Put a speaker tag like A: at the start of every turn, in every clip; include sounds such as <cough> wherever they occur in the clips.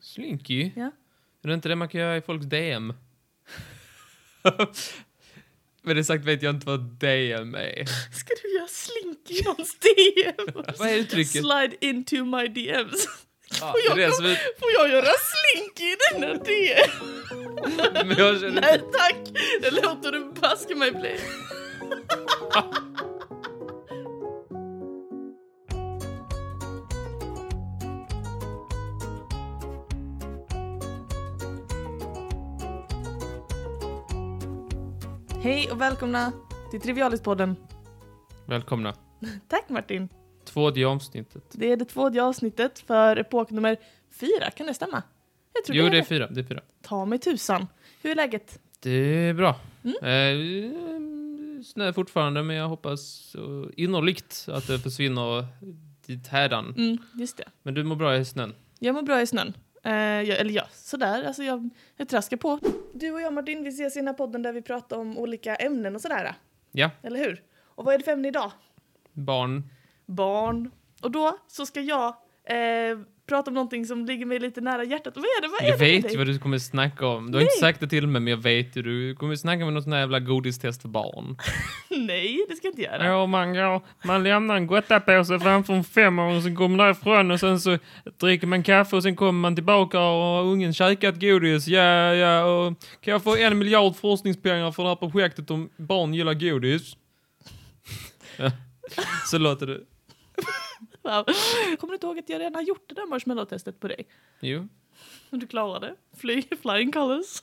A: Slinky?
B: Ja.
A: Är det inte det man kan göra i folks DM? <laughs> Med det sagt vet jag inte vad DM är. <laughs>
B: Ska du göra slink i någons DM?
A: Vad är uttrycket?
B: Slide into my DMs.
A: <laughs> Ja,
B: Får jag,
A: det är det som är-
B: får jag göra slink i denna DM?
A: Men jag känner-
B: <laughs> Nej tack, det låter du baske mig bli. Hej och välkomna till Trivialispodden.
A: Välkomna.
B: Tack Martin.
A: Tvådje avsnittet.
B: Det är det tvådje avsnittet för epok nummer fyra, kan det stämma? Jag tror
A: Jo,
B: det
A: det är fyra. Det är fyra.
B: Ta mig tusan. Hur är läget?
A: Det är bra.
B: Mm.
A: Eh, snö fortfarande, men jag hoppas eh, innerligt att det försvinner dit hädan.
B: Mm, just det.
A: Men du mår bra i snön.
B: Jag mår bra i snön. Eh, jag, eller ja, sådär. Alltså jag, jag traskar på. Du och jag Martin, vi ses i den här podden där vi pratar om olika ämnen och sådär.
A: Ja,
B: Eller hur? Och vad är det för ämne idag?
A: barn.
B: Barn. Och då så ska jag eh, prata om någonting som ligger mig lite nära hjärtat. Vad är det? Vad är
A: Jag
B: det med
A: vet ju
B: dig?
A: vad du kommer snacka om. Du har
B: Nej.
A: inte sagt det till mig, men jag vet ju. Du kommer snacka om något sånt där jävla godistest för barn.
B: <laughs> Nej, det ska jag inte göra.
A: Ja, man, går, man lämnar en gottapåse framför en femåring och sen går man därifrån och sen så dricker man kaffe och sen kommer man tillbaka och har ungen käkat godis. Ja, ja, och kan jag få en miljard forskningspengar för det här projektet om barn gillar godis? Ja, så låter det.
B: Wow. Kommer du inte ihåg att jag redan har gjort det där marshmallow-testet på dig?
A: Jo.
B: Och du klarade det. Fly, <laughs> flying colors.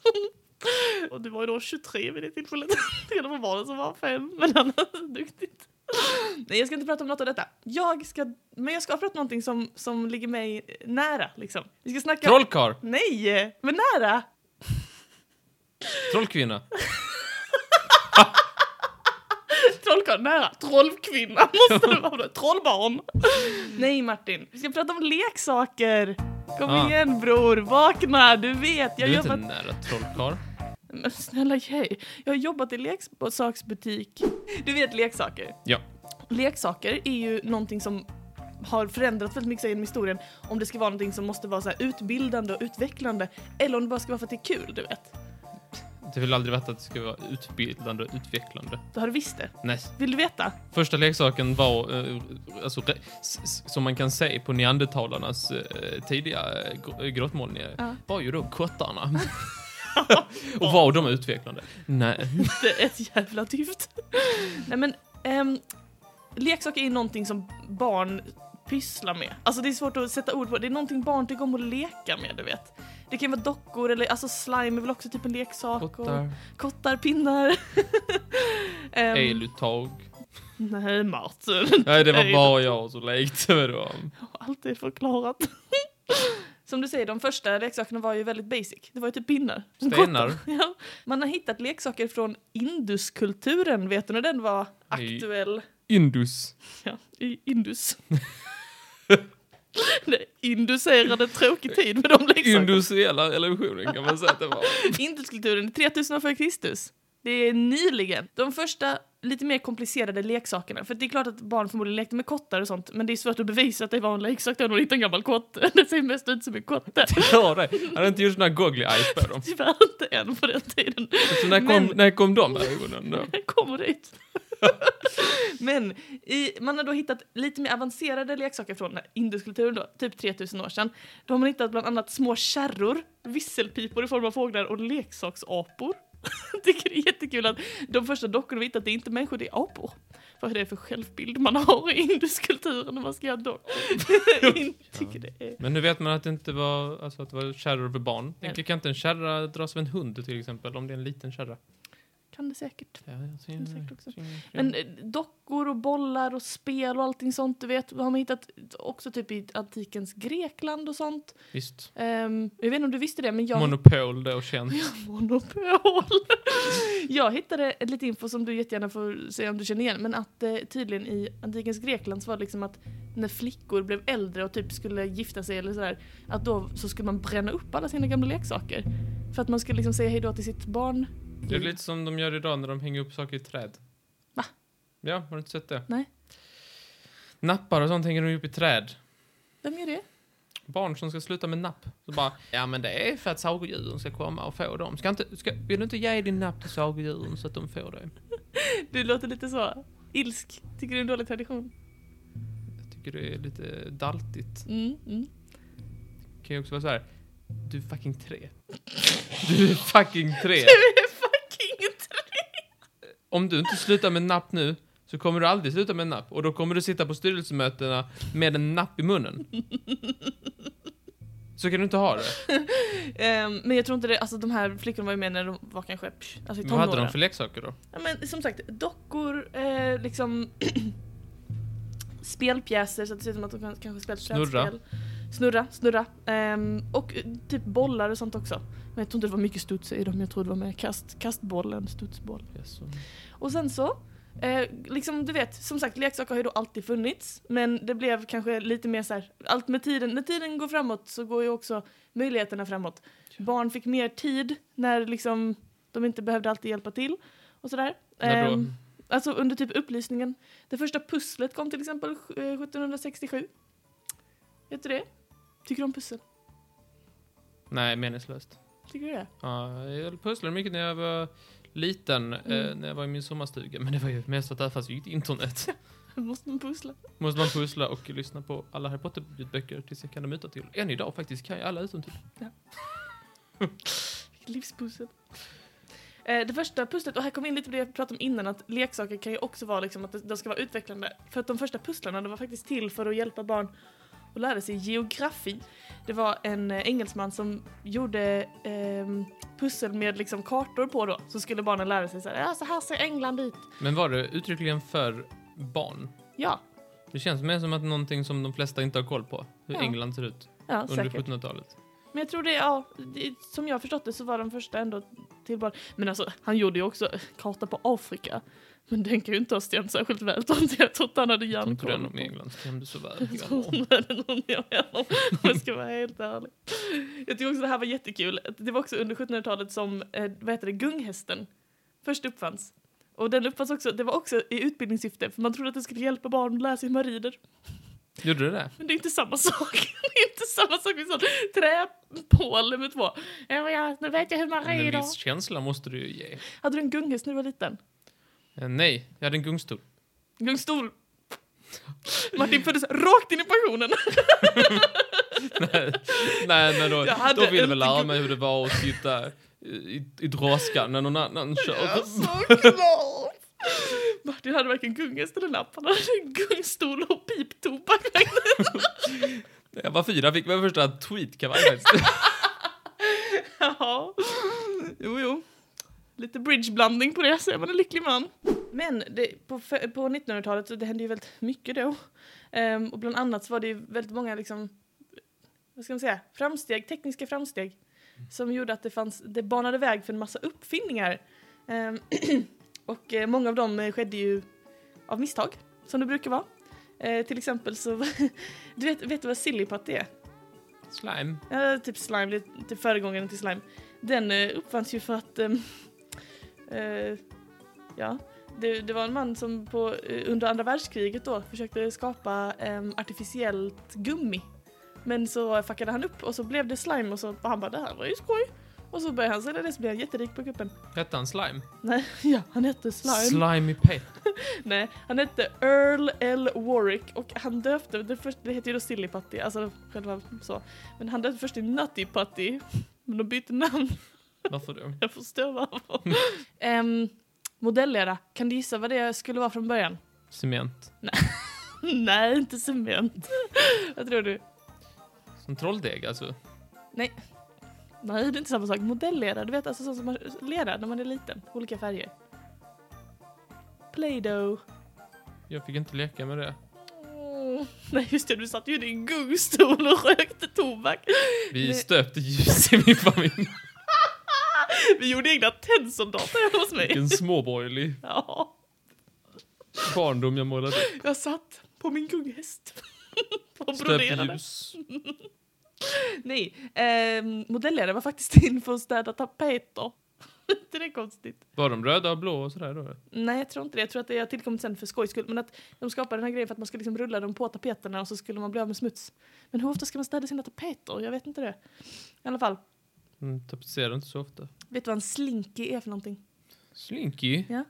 B: och du var ju då 23 vid det <laughs> tillfället. Det var barnen som var fem, men annars duktigt. <laughs> Nej, jag ska inte prata om något av detta. Jag ska, men jag ska prata om någonting som, som ligger mig nära, liksom. Vi ska snacka...
A: Trollkarl!
B: Nej, men nära!
A: Trollkvinna!
B: Trollkarl, nära. Trollkvinna <laughs> måste det vara. Trollbarn. <laughs> Nej, Martin. Vi ska prata om leksaker. Kom
A: Ah.
B: igen, bror. Vakna. Du vet, jag
A: Du
B: har
A: är inte
B: jobbat...
A: nära trollkarl.
B: Men snälla hej. Jag har jobbat i leksaksbutik. Du vet leksaker.
A: Ja.
B: Leksaker är ju någonting som har förändrats väldigt mycket så genom historien. Om det ska vara någonting som måste vara så här utbildande och utvecklande. Eller om det bara ska vara för att det är kul, du vet.
A: Det har väl aldrig varit att det ska vara utbildande och utvecklande.
B: Då har du visst det.
A: Nej.
B: Vill du veta? <laughs>
A: Första leksaken var, eh, alltså, re- s- s- som man kan se på neandertalarnas eh, tidiga eh, gr- eh, grottmålningar,
B: Ja.
A: var ju då
B: <laughs>
A: kottarna. och var de utvecklande? Nej.
B: Det är ett jävla dyft. Nej men, ehm, leksaker är någonting som barn pysslar med. Alltså det är svårt att sätta ord på. Det är någonting barn tycker om att leka med, du vet. Det kan vara dockor eller alltså slime är väl också typ en leksak. och-
A: Kottar,
B: Kottar, <laughs> pinnar. Ehm,
A: eluttag.
B: nej Martin,
A: Nej, det var
B: Ej.
A: bara jag som lekte med dem.
B: allt är förklarat. <laughs> Som du säger, de första leksakerna var ju väldigt basic. Det var ju typ pinnar.
A: Stenar.
B: Kottar, <laughs> Ja. Man har hittat leksaker från induskulturen, vet du när den var
A: Nej.
B: aktuell?
A: Indus.
B: Ja, i Indus. <laughs> Det induserade tråkig tid med de leksakerna.
A: Industriella revolutionen kan man säga att det
B: <laughs>
A: var.
B: Induskulturen, 3000 år före Kristus. Det är nyligen. De första lite mer komplicerade leksakerna. För det är klart att barn förmodligen lekte med kottar och sånt, men det är svårt att bevisa att det var en leksak då, när de hittade en gammal kotte. <laughs> Det ser mest ut som en kotte.
A: Ja, det. Han hade inte gjort såna här goggly eyes på dem.
B: Tyvärr inte än på den tiden.
A: Så när kom,
B: Men-
A: när kom de ögonen då?
B: Jag <laughs> kommer dit. Men i, man har då hittat lite mer avancerade leksaker från induskulturen då, typ 3000 år sedan. Då har man hittat bland annat små kärror, visselpipor i form av fåglar och leksaksapor. Jag <laughs> tycker det är jättekul att de första dockorna vi hittat, det är inte människor, det är apor. Vad är det för självbild man har i induskulturen när man ska göra dockor? <laughs> Jag tycker det är...
A: Men nu vet man att det inte var, alltså att det var kärror för barn. Tänker, kan inte en kärra dras av en hund till exempel, om det är en liten kärra?
B: Kan det säkert.
A: Ja, jag ser
B: Kan
A: det.
B: säkert också.
A: Ser det.
B: Men eh, dockor och bollar och spel och allting sånt, du vet, har man hittat också typ i antikens Grekland och sånt.
A: Visst.
B: Ehm, jag vet inte om du visste det, men jag...
A: Monopol då känns.
B: Monopol! <laughs> jag hittade lite info som du jättegärna får se om du känner igen, men att eh, tydligen i antikens Grekland så var det liksom att när flickor blev äldre och typ skulle gifta sig eller sådär, att då så skulle man bränna upp alla sina gamla leksaker. För att man skulle liksom säga hejdå till sitt barn.
A: Det är lite som de gör idag när de hänger upp saker i träd.
B: Va?
A: Ja, har du inte sett det?
B: Nej.
A: Nappar och sånt hänger de upp i träd.
B: Vem gör det?
A: barn som ska sluta med napp. Så bara, ja men det är för att sagodjuren ska komma och få dem. Ska inte, ska, vill du inte ge din napp till sagodjuren så att de får det?
B: Du låter lite så ilsk. Tycker du det är en dålig tradition?
A: Jag tycker det är lite daltigt.
B: Mm, mm.
A: Kan ju också vara så här. du är fucking tre. Du är fucking
B: Du
A: tre.
B: är fucking tre!
A: Om du inte slutar med napp nu så kommer du aldrig sluta med napp och då kommer du sitta på styrelsemötena med en napp i munnen. Så kan du inte ha det.
B: Ehm, men jag tror inte det, alltså de här flickorna var ju med när de var kanske psh, alltså i
A: Vad hade
B: tonåren.
A: de för leksaker då?
B: Ja, men som sagt, dockor, eh, liksom <clears throat> spelpjäser så att det ser ut som att de kan- kanske spelar
A: Snurra.
B: slädspel. Snurra. Snurra, Ehm, och eh, typ bollar och sånt också. Men jag tror inte det var mycket studs i dem, jag tror det var mer kast, kastbollen, studsboll.
A: Jaså.
B: Och sen så, eh, liksom du vet, som sagt leksaker har ju då alltid funnits. Men det blev kanske lite mer så här, allt med tiden, när tiden går framåt så går ju också möjligheterna framåt. Barn fick mer tid när liksom de inte behövde alltid hjälpa till och sådär.
A: När då?
B: Ehm, alltså under typ upplysningen. Det första pusslet kom till exempel eh, 1767. Vet du det? Tycker du om pussel?
A: Nej, meningslöst.
B: Tycker du det? <laughs>
A: Ja, jag pusslade mycket när jag var liten, eh,
B: Mm.
A: när jag var i min sommarstuga. Men det var ju mest att där fanns ju inte internet.
B: Måste man pussla?
A: Måste man pussla och lyssna på alla Harry Potter-ljudböcker tills jag kan dem utan till. Än idag faktiskt kan jag alla typ utan till.
B: Vilket livspussel. Eh, det första pusslet, och här kommer in lite på det jag pratade om innan, att leksaker kan ju också vara liksom att det- de ska vara utvecklande. För att de första pusslarna, de var faktiskt till för att hjälpa barn att lära sig geografi. Det var en eh, engelsman som gjorde ehm, pussel med liksom kartor på då, så skulle barnen lära sig så här, ja så här ser England ut.
A: Men var det uttryckligen för barn?
B: Ja,
A: Det känns mer som att någonting som de flesta inte har koll på. Hur
B: Ja.
A: England ser ut
B: ja
A: under
B: säkert.
A: 1700-talet.
B: Men jag tror det, ja, det, som jag har förstått det så var de första ändå till barn. Men alltså, han gjorde ju också karta på Afrika. Men den kan ju inte ha stämt särskilt väl, tror inte jag. tror inte han hade
A: Jag tror inte den
B: järnkoll.
A: om England stämde så
B: <laughs>
A: väl.
B: Jag tror inte det är någon jag menar, om jag ska vara helt ärlig. Jag tycker också det här var jättekul. Det var också under 1700-talet som, eh, vad heter det, gunghästen först uppfanns. Och den uppfanns också, det var också i utbildningssyfte, för man trodde att det skulle hjälpa barn att lära sig hur man rider.
A: Gjorde du det?
B: Men det är inte samma sak. <laughs> Det är inte samma sak med sån träpåle med två. Ja, ja, nu vet jag hur man
A: Men en
B: rider.
A: viss känsla måste du ju ge.
B: Hade du en gunghäst när du var liten?
A: Eh, Nej, jag hade en gungstol. <laughs>
B: Gungstol. <laughs> Martin föddes rakt in i pensionen.
A: Nej, men då,
B: Jag hade
A: då vill jag
B: inte
A: väl lära
B: gung-
A: mig hur det var att sitta i, i draskan när någon annan kör.
B: såklart. Martin hade varken gunghäst eller napp. Han hade en gungstol och piptobak.
A: Jag var fyra, fick min första tweetkavaj
B: <laughs>
A: faktiskt.
B: Ja. Jo, jo. Lite bridgeblandning på det, så är man en lycklig man. Men det, på, fe- på 1900-talet så det hände ju väldigt mycket då. Ehm, och bland annat så var det ju väldigt många liksom, vad ska man säga, framsteg, tekniska framsteg som gjorde att det fanns, det banade väg för en massa uppfinningar. Ehm, <clears throat> och eh, många av dem eh, skedde ju av misstag, som det brukar vara. Eh, till exempel så, <laughs> du vet, vet du vad silly Putty är?
A: Slime.
B: Ja, typ slime, det är typ föregångaren till slime. Den eh, uppfanns ju för att... ehm, eh, ja. Det, det var en man som på, eh, under andra världskriget då försökte skapa ehm, artificiellt gummi. Men så fuckade han upp och så blev det slime och så och han bara det här var ju skoj. Och så började han sälja det så blev han jätterik på kuppen. <laughs>
A: Hette han slime?
B: Nej, ja, han hette slime.
A: Slimy Pet.
B: Nej, han hette Earl L. Warwick och han döpte, det, först, det heter ju då Silly Putty, alltså själva så. Men han döpte först till Nutty Putty, <laughs> men de bytte namn. <laughs>
A: Varför då?
B: Jag förstår varför. um, modellera, kan du gissa vad det skulle vara från början? <laughs>
A: Cement.
B: Nej, inte cement. <laughs> vad tror du?
A: Som trolldeg alltså.
B: Nej, det är inte samma sak. Modellera, du vet alltså sånt som man lerar när man är liten, olika färger. Play-Doh.
A: Jag fick inte leka med det.
B: Mm. <laughs> Nej just det, du satt ju i din gungstol och rökte tobak.
A: Vi
B: Nej.
A: stöpte ljus i min
B: <laughs>
A: familj.
B: Vi gjorde egna tändsoldater hemma hos mig.
A: Vilken småborgerlig
B: Ja,
A: barndom jag målade. upp.
B: jag satt på min <laughs> gunghäst. <laughs> och
A: Stöpte
B: broderade.
A: ljus.
B: <laughs> Nej, ehm, modellera var faktiskt in för att städa tapeter. <laughs> inte det konstigt?
A: Var de röda och blå och sådär då?
B: Nej, jag tror inte det. Jag tror att det har tillkommit sen för skojs skull. Men att de skapade den här grejen för att man skulle liksom rulla dem på tapeterna och så skulle man bli av med smuts. Men hur ofta ska man städa sina tapeter? Jag vet inte det. I alla fall,
A: Mm, tapetserar inte så ofta.
B: vet du vad en slinky är för någonting?
A: Slinky?
B: Ja.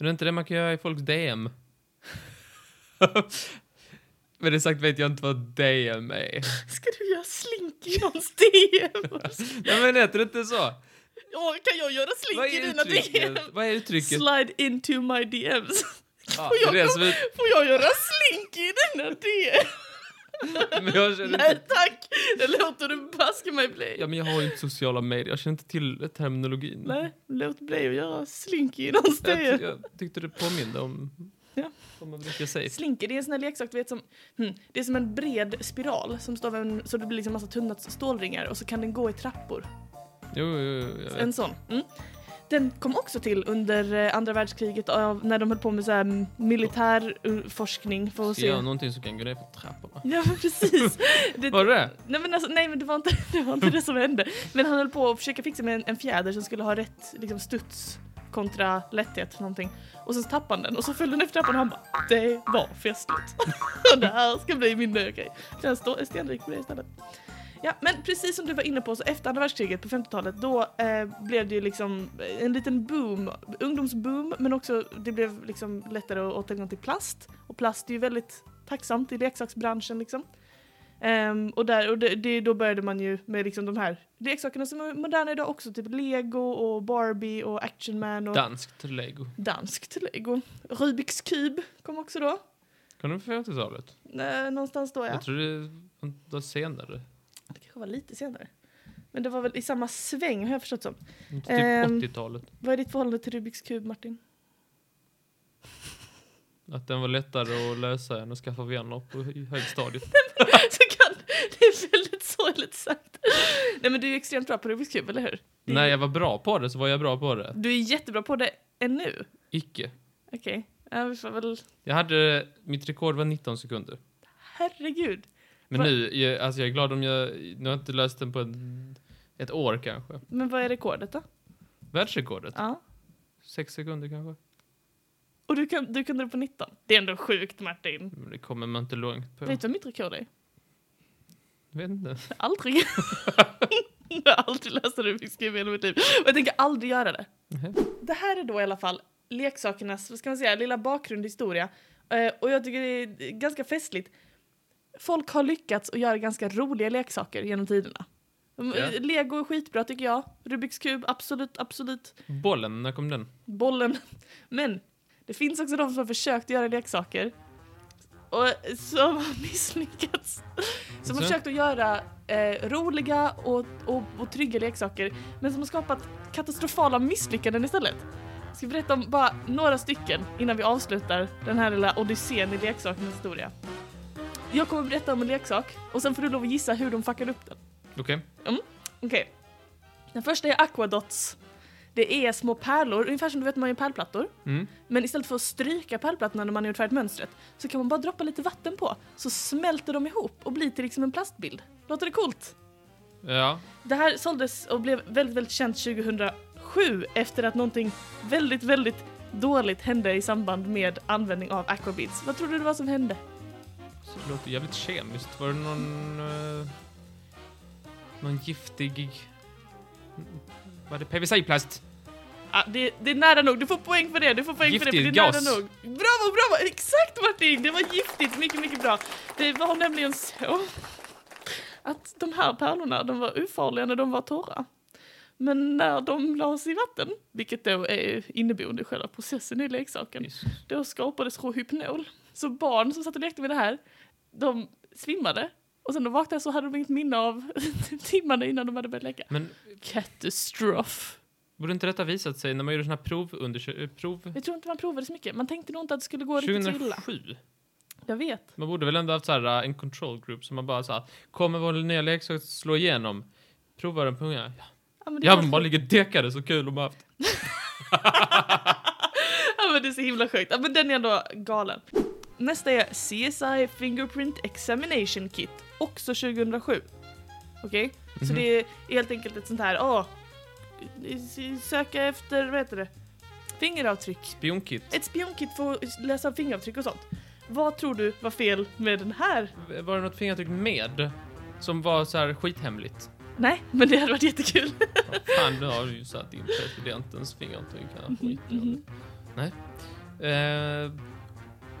A: Är det inte det man kan göra i folks DM? <laughs> Med det sagt vet jag inte vad DM är.
B: <laughs> Ska du göra slinky i <laughs> någons DM?
A: Nej men heter det inte så?
B: Åh, kan jag göra
A: Vad
B: slinky i
A: är
B: dina DM?
A: uttrycket? Vad är uttrycket?
B: Slide into my DMs.
A: Ja,
B: Får jag,
A: det är det som
B: kom- <laughs> får jag göra slinky i dina DM?
A: är- men jag känner inte,
B: Nej tack! Det låter du baske mig bli.
A: ja, men jag har ju inte sociala medier, jag känner inte till terminologin.
B: Nej, låt bli att göra slinky i någons
A: Jag,
B: DM.
A: ty- jag tyckte det påminde om
B: Ja.
A: vad man brukar säga.
B: Slinky, det är en sån här leksak du vet som, hmm, det är som en bred spiral som står av en, så det blir liksom massa tunna stålringar och så kan den gå i trappor.
A: Jo, jo, jo, jag vet.
B: En sån. Mm. Den kom också till under eh, andra världskriget av, när de höll på med så här mm, militär eh, forskning för att
A: Ska
B: se.
A: göra någonting som kan gå ner för trapporna.
B: Ja <laughs> men precis.
A: <laughs>
B: Det,
A: Var det det?
B: nej, men alltså, nej men det var, inte, <laughs> det var inte det som hände. Men han höll på att försöka fixa med en, en fjäder som skulle ha rätt liksom, studs kontra lätthet någonting. Och sen tappade han den och så föll den efter trappan och han bara det var festligt. <laughs> det här ska bli min nya grej. Så han står stenrik på det istället. Ja men precis som du var inne på så efter andra världskriget på 50-talet då eh, blev det ju liksom en liten boom, ungdomsboom men också det blev liksom lättare att, att tillgång till plast och plast är ju väldigt tacksamt i leksaksbranschen liksom. Ehm, och där, och det, det, då började man ju med liksom de här leksakerna som är moderna idag också, typ lego och Barbie och Action Man och
A: Danskt lego.
B: danskt lego. Rubiks kub kom också då.
A: Kan du på 50-talet?
B: Eh, någonstans då ja.
A: Jag tror det var senare.
B: Det kanske var lite senare. Men det var väl i samma sväng har jag förstått som.
A: Typ
B: Ehm.
A: 80-talet.
B: Vad är ditt förhållande till Rubiks kub Martin?
A: Att den var lättare att lösa än att skaffa vänner på hö- högstadiet.
B: Så kan, det är väldigt sorgligt sagt. Nej men du är ju extremt bra på Rubiks kub, eller hur? <laughs> Det är-
A: När jag var bra på det så var jag bra på det.
B: Du är jättebra på det ännu.
A: Icke.
B: Okej, ja, vi får väl...
A: Jag hade, mitt rekord var 19 sekunder.
B: Herregud.
A: Men
B: Va?
A: nu, jag, alltså jag är glad om jag, nu har jag inte löst den på ett, ett år kanske.
B: Men vad är rekordet då?
A: Världsrekordet?
B: Ja.
A: Sex sekunder kanske?
B: Och du, kan, du kunde det på 19. Det är ändå sjukt Martin.
A: Men det kommer man inte långt på.
B: Vet du vad mitt rekord är?
A: Vet inte.
B: Aldrig. <laughs> jag har aldrig läst Rubiks kub i hela mitt liv. Och jag tänker aldrig göra det.
A: Mhm.
B: Det här är då i alla fall leksakernas, vad ska man säga, lilla bakgrund och historia. Eh, och jag tycker det är ganska festligt. Folk har lyckats att göra ganska roliga leksaker genom tiderna. Mm,
A: Ja.
B: eh, Lego är skitbra tycker jag. Rubiks kub, absolut, absolut.
A: Bollen, när kom den?
B: bollen. <laughs> Men det finns också de som har försökt göra leksaker och som har <laughs> misslyckats. Som har
A: Alltså?
B: försökt att göra eh, roliga och, och, och trygga leksaker men som har skapat katastrofala misslyckanden istället. Jag ska berätta om bara några stycken innan vi avslutar den här lilla odyssén i leksakernas historia. Jag kommer berätta om en leksak och sen får du lov att gissa hur de fuckade upp den.
A: Okej.
B: Okej. Den första är aquadots. Det är små pärlor, ungefär som du vet man gör pärlplattor.
A: Mm.
B: Men istället för att stryka pärlplattorna när man har gjort färdigt mönstret så kan man bara droppa lite vatten på så smälter de ihop och blir till liksom en plastbild. Låter det coolt?
A: Ja.
B: Det här såldes och blev väldigt, väldigt känt 2007 efter att någonting väldigt, väldigt dåligt hände i samband med användning av aquabeads. Vad tror du det var som hände?
A: Så det låter jävligt kemiskt. Var det någon... eh, någon giftig... Var det PVC-plast?
B: Ja, Ah, det, det är nära nog, du får poäng för det, du får poäng för det, för
A: Giftig
B: det är
A: gas.
B: nära nog. Bravo, bravo! Exakt Martin! Det var giftigt, mycket, mycket bra. Det var nämligen så att de här pärlorna, de var ofarliga när de var torra. Men när de lades i vatten, vilket då är inneboende i själva processen i leksaken, då skapades rohypnol. Så barn som satt och lekte med det här, de svimmade. Och sen de vaknade så hade de inget minne av <laughs> timmarna innan de hade börjat leka.
A: Men
B: Katastrof.
A: Borde inte detta visat sig när man gjorde såna här provundersö- eh, prov
B: Jag tror inte man provade så mycket. Man tänkte nog inte att det skulle gå riktigt så illa.
A: 2007?
B: Jag vet.
A: Man borde väl ändå haft så här, eh, en control group som man bara så här, kommer vår nya leksak slå igenom? Prova den på unga.
B: Ja men det,
A: Ja,
B: är,
A: men bara ligger dekade så kul de har haft.
B: <laughs> ja, men det är så himla sjukt. Ja, men den är ändå galen. Nästa är CSI Fingerprint Examination Kit. Också 2007. Okej? Så
A: Mhm.
B: det är helt enkelt ett sånt här, åh, s- söka efter, vad heter det? Fingeravtryck.
A: Spionkit.
B: Ett spionkit för att läsa fingeravtryck och sånt. Vad tror du var fel med den här?
A: Var det något fingeravtryck med? Som var så här skithemligt?
B: Nej, men det hade varit jättekul. <laughs>
A: Ja, Fan, nu har du ju satt in presidentens fingeravtryck
B: Mhm,
A: här. Skit i honom. Nej. Eh,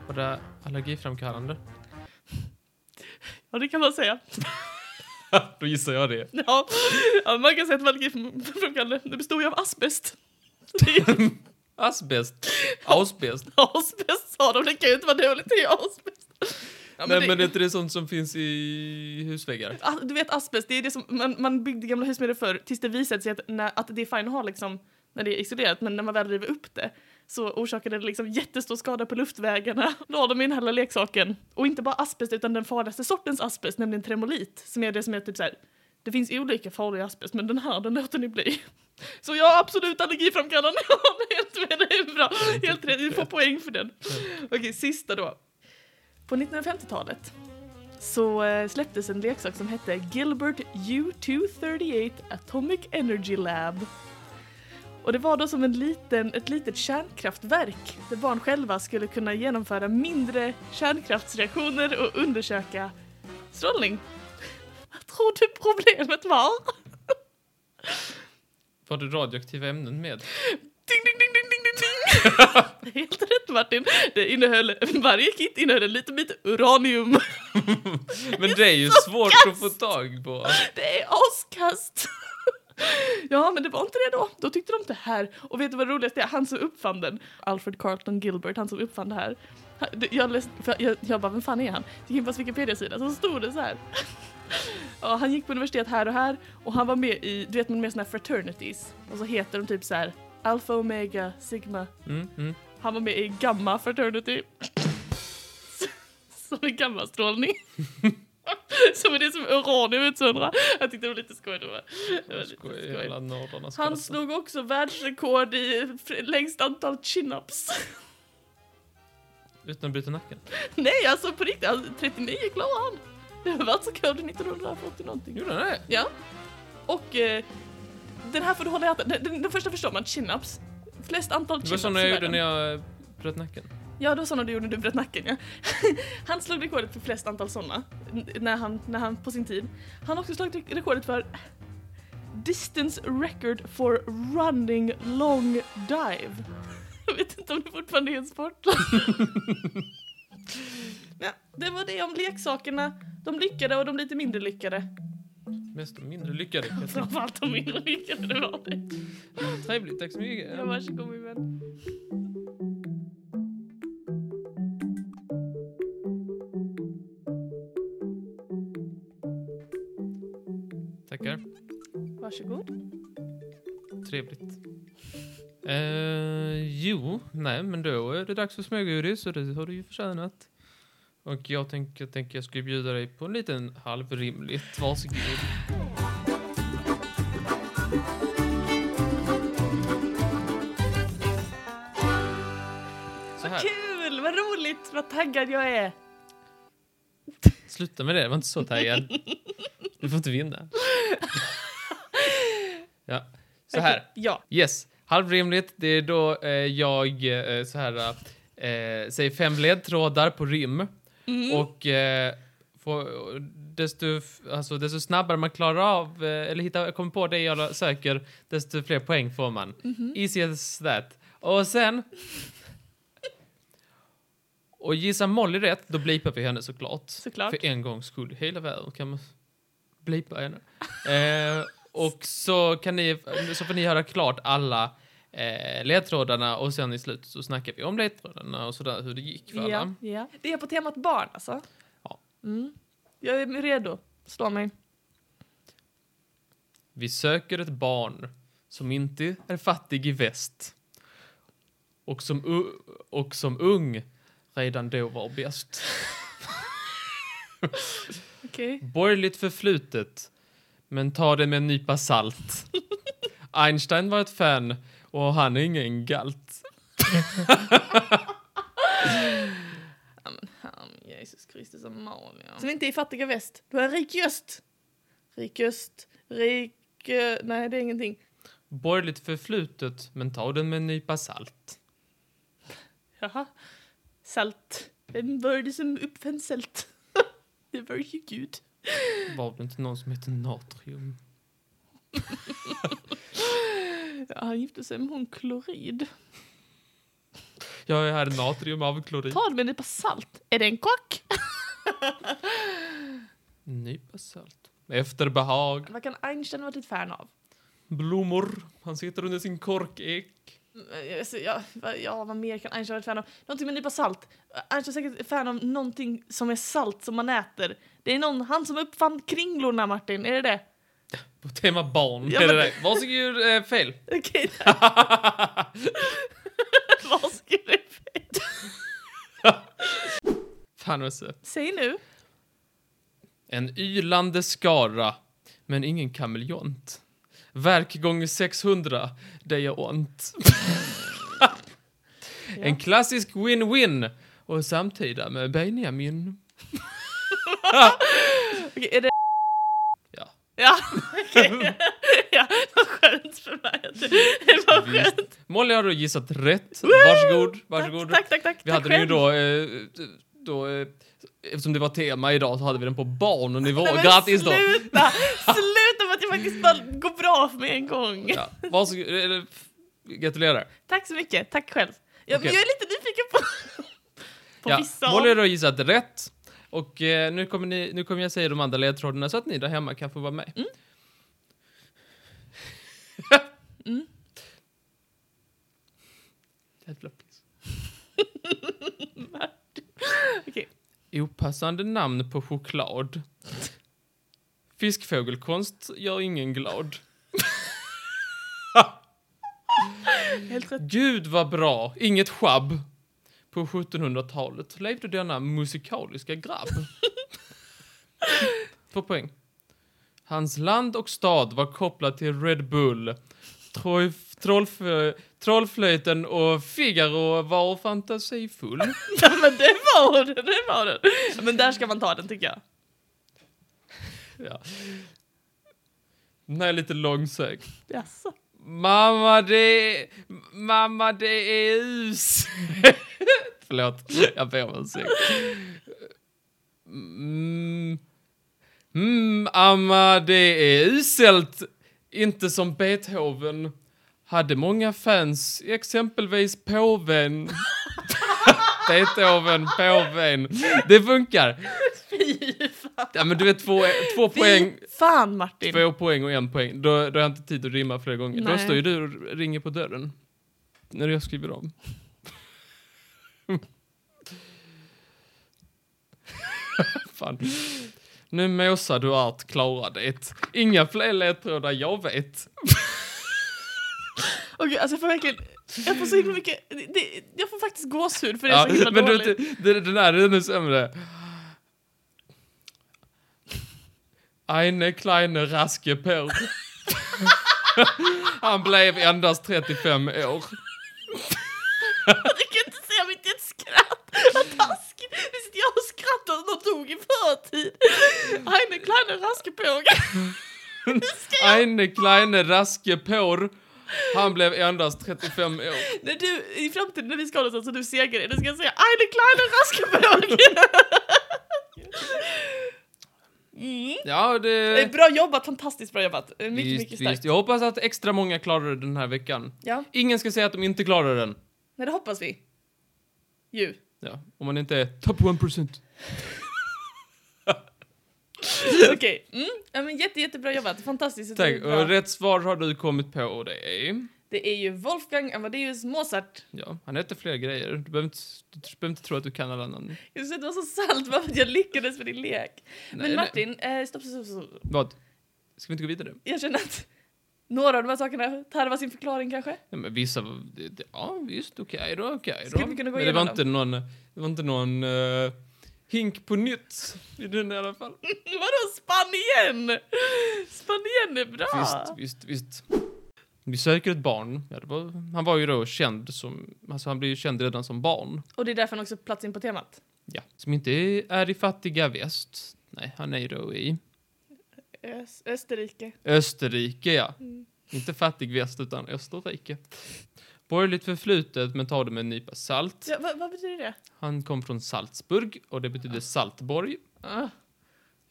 A: var det allergiframkallande?
B: Ja, det kan man säga.
A: <laughs> Då gissar jag det.
B: <laughs> Ja, ja man kan säga att allergiframkallande, det bestod ju av asbest. Det är ju
A: Asbest. Ausbest.
B: asbest sa de, det kan ju inte vara dåligt, det är ju asbest. Ja,
A: Nej,
B: det-
A: men är inte det sånt som finns i husväggar?
B: Ah, Du vet asbest, det är det som man, man byggde gamla hus med det förr tills det visade sig att, när, att det är fine att ha liksom, när det är isolerat men när man väl river upp det så orsakade det liksom jättestor skada på luftvägarna. <laughs> Då har de in hela leksaken. Och inte bara asbest utan den farligaste sortens asbest, nämligen tremolit. Som är det som är typ såhär, det finns olika farliga asbest men den här den låter ni bli. <laughs> Så jag har absolut allergiframkallande, <laughs> jag håller helt med dig, bra. Helt rätt, du får poäng för den. Okej, sista då. På 1950-talet så eh, släpptes en leksak som hette Gilbert U-238 Atomic Energy Lab. Och det var då som en liten, ett litet kärnkraftverk där barn själva skulle kunna genomföra mindre kärnkraftsreaktioner och undersöka strålning. Vad tror du problemet var?
A: Var det radioaktiva ämnen med?
B: Ding, ding, ding, ding, ding, ding, ding. Helt rätt Martin. Det innehöll, varje kit innehöll en liten bit uranium.
A: Men det är ju svårt att få tag på.
B: Det är askast! <laughs> Ja, men det var inte det då. Då tyckte de inte här. Och vet du vad det roligaste är? Han som uppfann den, Alfred Carlton Gilbert, han som uppfann det här. Han- det- Jag, läste, för jag, jag bara, vem fan är han? Gick in på hans Wikipedia-sida, så stod det så här. <laughs> Ja, han gick på universitet här och här och han var med i, du vet man är med i såna här fraternities. Och så heter de typ så här Alpha Omega Sigma.
A: Mm, mm.
B: Han var med i Gamma Fraternity. <laughs> Som är gammastrålning. <laughs> Som är det som uranium utsöndrar. Jag tyckte det var lite skoj. Det var, det var lite
A: Skoj,
B: skoj.
A: hela nordarna ska
B: Han
A: detta.
B: slog också världsrekord i fr- längst antal chin-ups. <laughs>
A: Utan att bryta nacken.
B: Nej, alltså på riktigt. Alltså, 39 klarade han. Det var världsrekord 1940 någonting.
A: Gjorde han det?
B: Ja. Och eh, den här får du hålla i hatten. Den, den, den första förstår man, chin-ups. Flest antal
A: Det var
B: chin-ups
A: såna
B: i
A: jag gjorde
B: världen.
A: när jag bröt nacken.
B: Ja, det var såna du gjorde när du bröt nacken, ja. <laughs> Han slog rekordet för flest antal såna n- när han, när han, på sin tid. Han har också slagit re- rekordet för distance record for running long dive. Jag vet inte om det fortfarande är en sport. ja, det var det om leksakerna. De lyckade och de lite mindre lyckade.
A: Mest mindre
B: <laughs>
A: lyckade. kan jag säga.
B: Framförallt de mindre lyckade, det var det.
A: Trevligt, tack så mycket.
B: Ja, varsågod min vän.
A: Tackar.
B: Varsågod.
A: Trevligt. Eh, jo, nej, men då är det dags för smågodis och det har du ju förtjänat. Och jag tänker jag, tänker jag skulle bjuda dig på en liten halvrimligt. Varsågod. Så här,
B: Kul, vad roligt, vad taggad jag är.
A: sluta med det, jag var inte så
B: <laughs>
A: taggad. Du får inte vinna. Ja, så här.
B: Okej, Ja.
A: Yes, halvrimligt. Det är då eh, jag eh, så här eh, säger fem ledtrådar på rim och eh, får, desto, f- alltså, desto snabbare man klarar av eh, eller hittar, kommer på det jag söker, desto fler poäng får man. Easy as that. Och sen. Och gissar Molly rätt, då blipar vi henne såklart.
B: Såklart.
A: För en gångs skull, hela världen kan man blipa henne. Eh, och så, kan ni, så får ni höra klart alla eh, ledtrådarna och sen i slutet så snackar vi om ledtrådarna och sådär hur det gick för alla.
B: Ja, ja. Det är på temat barn alltså?
A: Ja.
B: Mm. Jag är redo. Slå mig.
A: Vi söker ett barn som inte är fattig i väst och som, u- och som ung redan då var bäst.
B: Okej.
A: Borgerligt förflutet, men ta det med en nypa salt. Einstein var ett fan och han är ingen galt.
B: Han, Jesus Kristus och Amalia. Som inte är fattiga väst. Du är rik i öst. Rik öst. Rik... eh, Nej, det är ingenting.
A: borgerligt förflutet, men ta den med en nypa salt.
B: Jaha. Salt. Vem var det som uppfann salt? <laughs> det var ju Gud.
A: Var det inte någon som hette natrium?
B: Ja, han gifte sig med hon klorid.
A: Ja, jag hade natrium av klorid.
B: Ta det med en nypa salt. Är det en kock?
A: En nypa salt. Efter behag.
B: Vad kan Einstein ha varit ett fan av?
A: Blommor. Han sitter under sin korkek.
B: Mm, alltså, Ja, vad- ja, vad mer kan Einstein vara ett fan av? Någonting med en nypa salt. Einstein är säkert ett fan av någonting som är salt som man äter. Det är någon, han som uppfann kringlorna, Martin. Är det det?
A: På tema barn.
B: Ja,
A: är det
B: men-
A: det? Varsågod, eh,
B: <laughs>
A: fel.
B: <laughs> Okej, tack. vad ska du...
A: Fan vad sött.
B: Säg nu.
A: En ylande skara, men ingen kameleont. Verk gånger 600, det gör
B: <laughs>
A: ont. En klassisk win-win och samtida med Benjamin.
B: Okej, är det...
A: Ja.
B: Ja, <laughs> okej. ja, vad skönt för mig. att du- Det var
A: Visst.
B: skönt.
A: Molly har då gissat rätt. Varsågod, varsågod.
B: Tack, tack, tack.
A: Vi
B: tack
A: hade den ju
B: själv.
A: då, eh, då eh, eftersom det var tema idag så hade vi den på barnnivå.
B: Nej, men
A: Grattis då! <laughs>
B: Sluta! Sluta med att jag faktiskt bara går bra för mig en gång.
A: Ja, varsågod, eller, f- gratulerar.
B: Tack så mycket. Tack själv. Jag,
A: Okej.
B: jag är lite nyfiken på, <laughs> på
A: Ja,
B: vissa
A: Molly har
B: av...
A: då gissat rätt. Och eh, nu, kommer ni, nu kommer jag säga de andra ledtrådarna så att ni där hemma kan få vara med. <laughs>
B: Mm.
A: Jävla
B: <laughs>
A: piss.
B: Okej.
A: Opassande namn på choklad. Fiskfågelkonst gör ingen glad.
B: Helt rätt.
A: Gud vad bra, inget schabb. På 1700-talet levde denna musikaliska grabb. Två poäng. Hans land och stad var kopplad till Red Bull. Trojf, trollf, trollflöjten och Figaro var fantasifull.
B: Ja, men det var den, det var den. Men där ska man ta den tycker jag.
A: Ja. Den här är lite långsökt.
B: Jaså?
A: Mamma, det... Mamma, det är uselt. <laughs> Förlåt, jag ber om ursäkt. Mm, mm, amma, det är uselt. Inte som Beethoven. Hade många fans, exempelvis påven. <laughs> Beethoven, påven. Det funkar.
B: Fy fan.
A: Ja, men du vet, två, två poäng.
B: Fy fan Martin.
A: Två poäng och en poäng. Då, då har jag inte tid att rimma flera gånger. Då
B: Nej.
A: står ju du och ringer på dörren. När jag skriver om. <laughs> Fan. Nu måsar du art klara det. Inga fler ledtrådar jag vet.
B: Okej, alltså jag får verkligen... Jag får så himla mycket... Det, det, jag får faktiskt gåshud för det är
A: Ja,
B: så
A: <laughs>
B: himla
A: men du,
B: dåligt. <laughs>
A: vet, det- den här är ännu sämre. Eine kleine raske på. <laughs> Han blev endast 35 år.
B: Jag kan inte säga mitt i ett skratt. Vad taskigt. Nu sitter jag och skrattar och de dog i förtid. Heine Kleine <laughs> Raskepåge.
A: Eine kleine raske Por. Han blev endast 35 år.
B: När du, i framtiden när vi ska hålla oss så du seger är, då ska jag säga Heine Kleine
A: <laughs>
B: Raskepåge. Mm.
A: Ja,
B: Eh,
A: det...
B: Bra jobbat, fantastiskt bra jobbat. Eh, Mycket, mycket starkt.
A: Jag hoppas att extra många klarar det den här veckan.
B: Ja,
A: Ingen ska säga att de inte klarar den.
B: men det hoppas vi. Ju.
A: <laughs> Ja, om man inte är top 1%.
B: Okej. Mm. Ja, men jätte, jättebra jobbat. Fantastiskt. Jag
A: Tack.
B: tycker det är
A: Och
B: bra.
A: rätt svar har du kommit på och det är...
B: Det är ju Wolfgang Amadeus Mozart.
A: Ja, han heter fler grejer. Du behöver inte, du behöver inte tro att du kan alla namn.
B: Jag tyckte det var så salt bara för att jag lyckades med din lek.
A: Nej,
B: Men Martin, eh, stopp, stopp, stopp, stopp.
A: Vad? Ska vi inte gå vidare?
B: Jag känner att några av de här sakerna tarvar sin förklaring kanske.
A: Ja, men vissa... var- det- det- Ja, visst. Okej då, okej då.
B: Skulle vi kunna gå
A: men det var
B: igenom
A: inte någon... Det var inte någon... eh, hink på nytt i den i alla fall.
B: Vadå spann igen? Spann igen är bra.
A: Visst, visst, visst. Vi söker ett barn. Ja, det var, han var ju då känd som... Alltså han blev ju känd redan som barn.
B: Och det är därför han också plats in på temat.
A: Ja. Som inte är i fattiga väst. Nej, han är ju då i
B: Ös- Österrike.
A: Österrike, ja.
B: Mm.
A: Inte fattig väst, utan Österrike. Borgerligt förflutet, men ta det med en nypa salt.
B: Ja, vad, vad betyder det?
A: Han kom från Salzburg, och det betyder Saltborg.
B: Ah,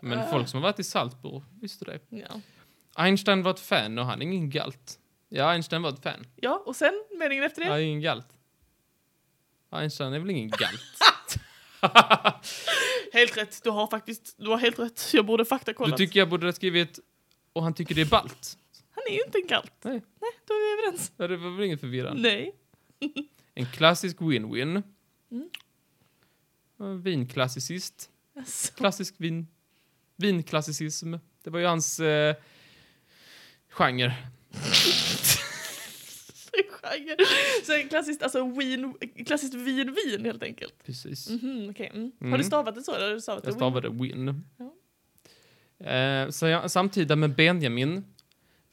A: Men
B: Ah.
A: folk som har varit i Salzburg, visste det.
B: ja.
A: Einstein var ett fan och han är ingen galt. Ja, Einstein var ett fan.
B: ja, och sen meningen efter det?
A: Han är ingen galt. Einstein är väl ingen
B: <laughs>
A: galt?
B: <laughs> Helt rätt, du har faktiskt, du har helt rätt. Jag borde
A: Du
B: faktakolla.
A: tycker jag borde ha skrivit och han tycker det är balt.
B: Han är ju inte en galt.
A: Nej.
B: Nej, då är vi överens.
A: Ja, Det var väl inget förvirrande?
B: Nej.
A: En klassisk win-win.
B: Mm.
A: En Vinklassicist.
B: Alltså,
A: Klassisk vin. Vinklassicism. Det var ju hans eh, genre.
B: genre. Så klassiskt, alltså wien, klassiskt vin, vin helt enkelt.
A: Precis.
B: Mhm, okej. mm. Har
A: Mm.
B: du stavat det så? Eller har du stavat
A: Jag
B: det
A: stavade win.
B: Ja.
A: Eh, så jag, samtida med Benjamin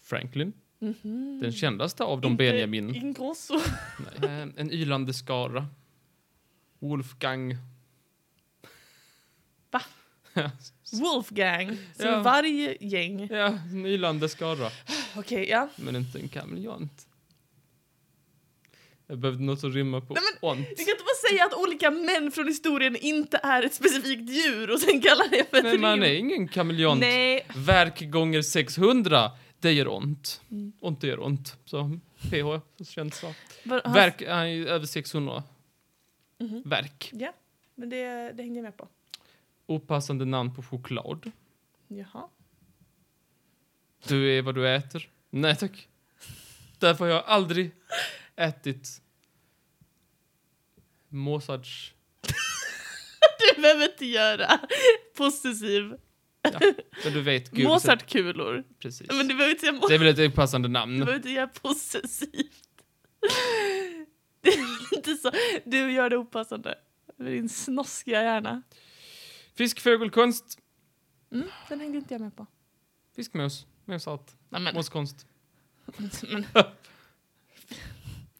A: Franklin.
B: win? Mhm.
A: Den kändaste av de
B: Inte
A: Benjamin.
B: Ingrosso.
A: Nej. Eh, en ylande skara. Wolfgang.
B: Va? Wolfgang. Som
A: Ja.
B: varje gäng.
A: ja, en ylande skara.
B: Okej, ja.
A: Men inte en kameleont. Jag behövde något att rymma på
B: Nej,
A: ont.
B: Du kan inte bara säga att olika män från historien inte är ett specifikt djur och sen kalla det för ett
A: Men man
B: rim.
A: är ingen kameleont.
B: Nej.
A: Verk gånger 600, det gör ont.
B: Mm.
A: Ont gör ont. Så PH, så känns det.
B: Var- han-
A: Verk, han är ju över 600.
B: Mhm.
A: Verk.
B: Ja, alltså, men det, det hängde jag med på.
A: Opassande namn på choklad.
B: Jaha.
A: Du är vad du äter. Nej tack. Därför har jag aldrig ätit Mozarts...
B: Du behöver inte göra possessiv.
A: Men du vet, Gud.
B: Mozartkulor.
A: Precis.
B: Men du behöver inte säga, mo-
A: Det är väl ett opassande
B: du
A: namn?
B: behöver inte göra possessivt. Det är inte så. Du gör det opassande. Med din snoskiga hjärna.
A: Fisk, fågelkonst.
B: Mm, den hängde inte jag med på.
A: Fiskmås. Måsart.
B: Nej, men,
A: Måskonst.
B: <laughs> men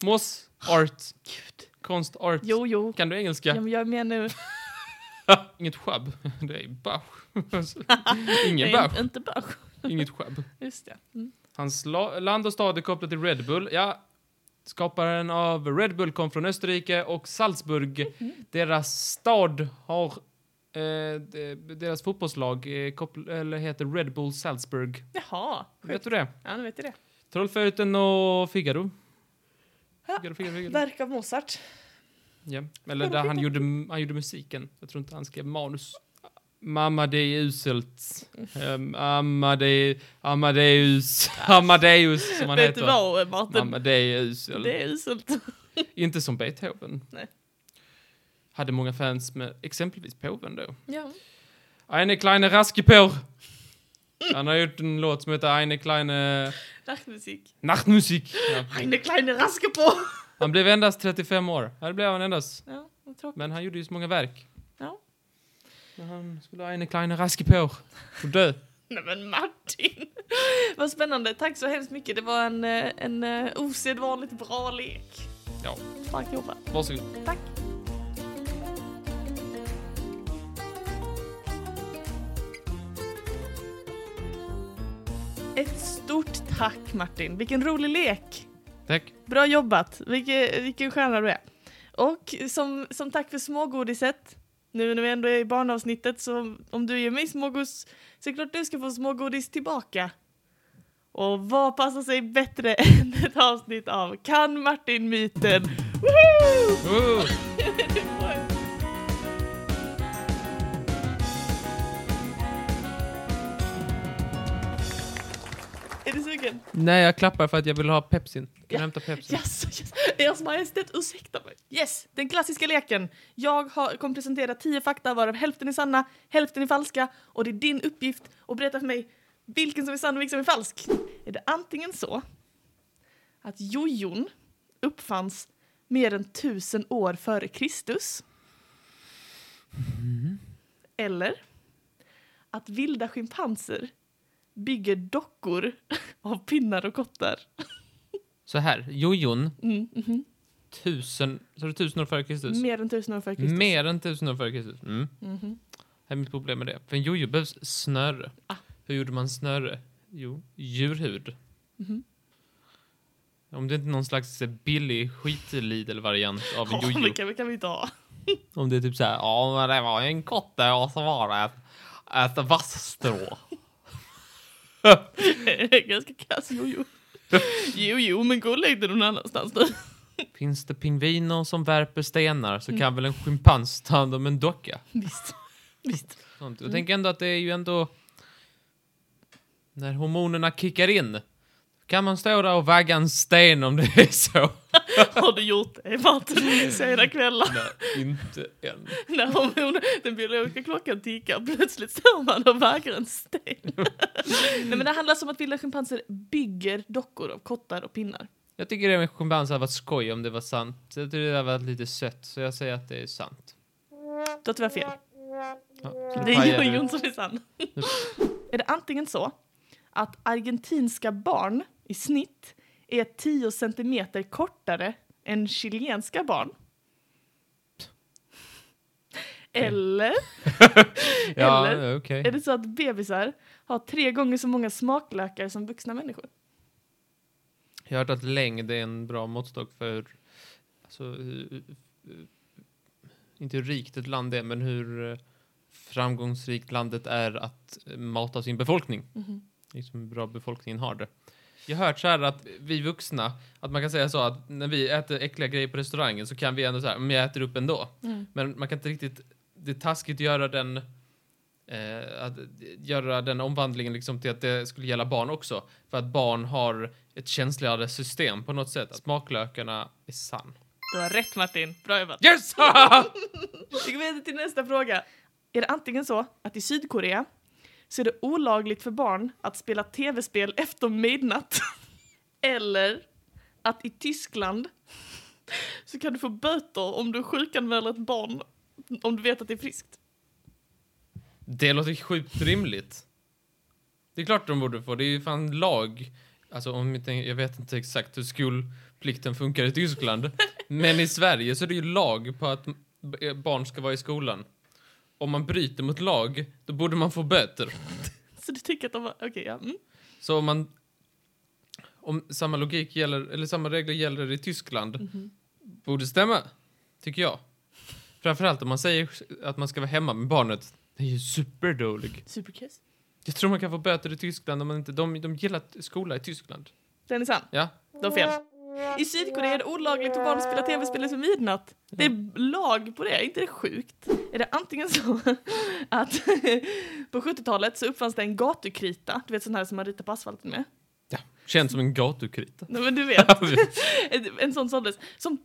A: Mås. Art.
B: gud.
A: Konstart.
B: Jo, jo.
A: Kan du engelska?
B: Ja, men jag är med nu.
A: <laughs> Inget schabb. Det är Bach.
B: <laughs>
A: Ingen
B: Nej,
A: Bach.
B: Inte Bach.
A: Inget schabb.
B: Just det. Mm.
A: Hans la- land och stad är kopplat till Red Bull. Ja, skaparen av Red Bull kom från Österrike och Salzburg.
B: Mm.
A: Deras stad har... Eh, de- deras fotbollslag eh, koppl- eller heter Red Bull Salzburg.
B: Jaha.
A: Vet du det?
B: Ja, nu vet jag det.
A: Trollflöjten och Figaro.
B: Ja,
A: Figaro, Figaro, Figaro.
B: Verk av Mozart.
A: Ja. Eller där han gjorde, han gjorde musiken. Jag tror inte han skrev manus. Mamadeus. Ehm, Amadeus. Amadeus. Amadeus som han
B: vet du
A: heter.
B: vad, Martin?
A: Amadeus.
B: Det är uselt.
A: Inte som Beethoven.
B: Nej.
A: Hade många fans med exempelvis påven då.
B: Ja.
A: Eine kleine Raskepor.
B: Mm.
A: Han har gjort en låt som heter Eine kleine
B: Nachtmusik.
A: Nachtmusik. Ja.
B: Eine kleine Raske på!
A: Han blev endast 35 år. Ja, det blev han endast.
B: Ja, vad tråkigt.
A: Men han gjorde ju så många verk.
B: Ja.
A: Men han skulle ha Eine kleine Raskepor och dö.
B: Nej men Martin! Vad spännande, tack så hemskt mycket. Det var en, eh, en eh, osedvanligt bra lek.
A: Ja,
B: Starkt jobbat.
A: varsågod.
B: Tack. Ett stort tack Martin, vilken rolig lek!
A: Tack.
B: Bra jobbat, vilken, vilken stjärna du är. Och som, som tack för smågodiset, nu när vi ändå är i barnavsnittet, så om du ger mig smågodis så är det klart du ska få smågodis tillbaka. Och vad passar sig bättre <laughs> än ett avsnitt av Kan Martin-myten? Woho!
A: Woo!
B: Du får en- Är du sugen?
A: Nej, jag klappar för att jag vill ha Pepsin. Kan
B: Ja.
A: jag hämta Pepsin?
B: Yes, <laughs> yes. Ers Majestät, ursäkta mig. Yes, den klassiska leken. Jag har, kommer presentera tio fakta varav hälften är sanna, hälften är falska och det är din uppgift att berätta för mig vilken som är sann och vilken som är falsk. Är det antingen så att jojon uppfanns mer än tusen år före Kristus? Eller att vilda schimpanser bygger dockor <laughs> av pinnar och kottar?
A: Så här, jojon,
B: Mm, mhm.
A: tusen, så det tusen år före Kristus?
B: Mer än tusen år före Kristus.
A: Mer än tusen år före Kristus. Mm.
B: Mhm.
A: Det är mitt problem med det. För en jojo behövs snöre.
B: Ah.
A: Hur gjorde man snöre? Jo, djurhud.
B: Mhm.
A: Om det inte är någon slags eh, billig skit-Lidl-variant av
B: <laughs>
A: en
B: Ja,
A: jojo.
B: vilka, vilka vi inte <laughs> ha?
A: Om det är typ så här, ja men det var ju en kotte och så var det ett, ett
B: <laughs>
A: vassstrå.
B: Ganska kass jojo. Jo, jo, men gå och lägg dig någon annanstans nu.
A: Finns det pingviner som värper stenar
B: Mm.
A: så kan väl en schimpans ta hand om en docka.
B: Visst. Visst.
A: Sånt. Jag tänker ändå att det är ju ändå när hormonerna kickar in kan man stå där och vagga en sten om det är så.
B: Har du gjort det, Martin? Sena kvällar.
A: Nej, inte än.
B: När hormon, den biologiska klockan tickar plötsligt står man och vaggar en sten. Nej, men det handlar om att vilda schimpanser bygger dockor av kottar och pinnar.
A: Jag tycker det med schimpans hade varit skoj om det var sant. Jag tycker det hade varit lite sött så jag säger att det är sant.
B: Du har tyvärr fel.
A: Ja,
B: Det
A: Vad
B: är
A: det?
B: jojon som är sann. Är det antingen så att argentinska barn i snitt är 10 centimeter kortare än chilenska barn? Eller
A: Ja,
B: Eller?
A: okej.
B: är det så att bebisar har tre gånger så många smaklökar som vuxna människor?
A: Jag har hört att längd är en bra måttstock för hur- alltså, hur- hur- hur- inte hur rikt ett land är, men hur eh, framgångsrikt landet är att eh, mata sin befolkning.
B: Mhm.
A: Liksom hur bra befolkningen har det. Jag har hört så här att vi vuxna, att man kan säga så att när vi äter äckliga grejer på restaurangen så kan vi ändå så här, men jag äter upp ändå.
B: Mm.
A: Men man kan inte riktigt, det är taskigt att göra den eh, att göra den omvandlingen liksom till att det skulle gälla barn också. För att barn har ett känsligare system på något sätt. Att smaklökarna är sann.
B: Du har rätt Martin, bra jobbat.
A: Yes!
B: Vi går vidare till nästa fråga. Är det antingen så att i Sydkorea så är det olagligt för barn att spela tv-spel efter midnatt? <laughs> Eller att i Tyskland så kan du få böter om du sjukanmäler ett barn om du vet att det är friskt?
A: det låter sjukt rimligt. Det är klart de borde få. Det är ju fan lag. Alltså om jag, tänker, jag vet inte exakt hur skolplikten funkar i Tyskland. men i Sverige så är det ju lag på att b- barn ska vara i skolan. Om man bryter mot lag, då borde man få böter.
B: Så du tycker att de var... Okej, ja. Mm.
A: Så om man... Om samma logik gäller, eller samma regler gäller i Tyskland, borde stämma, tycker jag. Framförallt om man säger att man ska vara hemma med barnet. Det är ju superdålig.
B: Superkiss.
A: Jag tror man kan få böter i Tyskland om man inte... De, de gillar t- skola i Tyskland.
B: Den är sann.
A: Ja.
B: Du har fel. I Sydkorea är det olagligt för barn att spela tv-spel efter midnatt. Det är lag på det, är inte det sjukt? Är det antingen så <laughs> att på 70-talet så uppfanns det en gatukrita, du vet sån här som man ritar på asfalten med.
A: ja. Känns som en gatukrita.
B: Nej men du vet,
A: <laughs>
B: en- en sån såldes som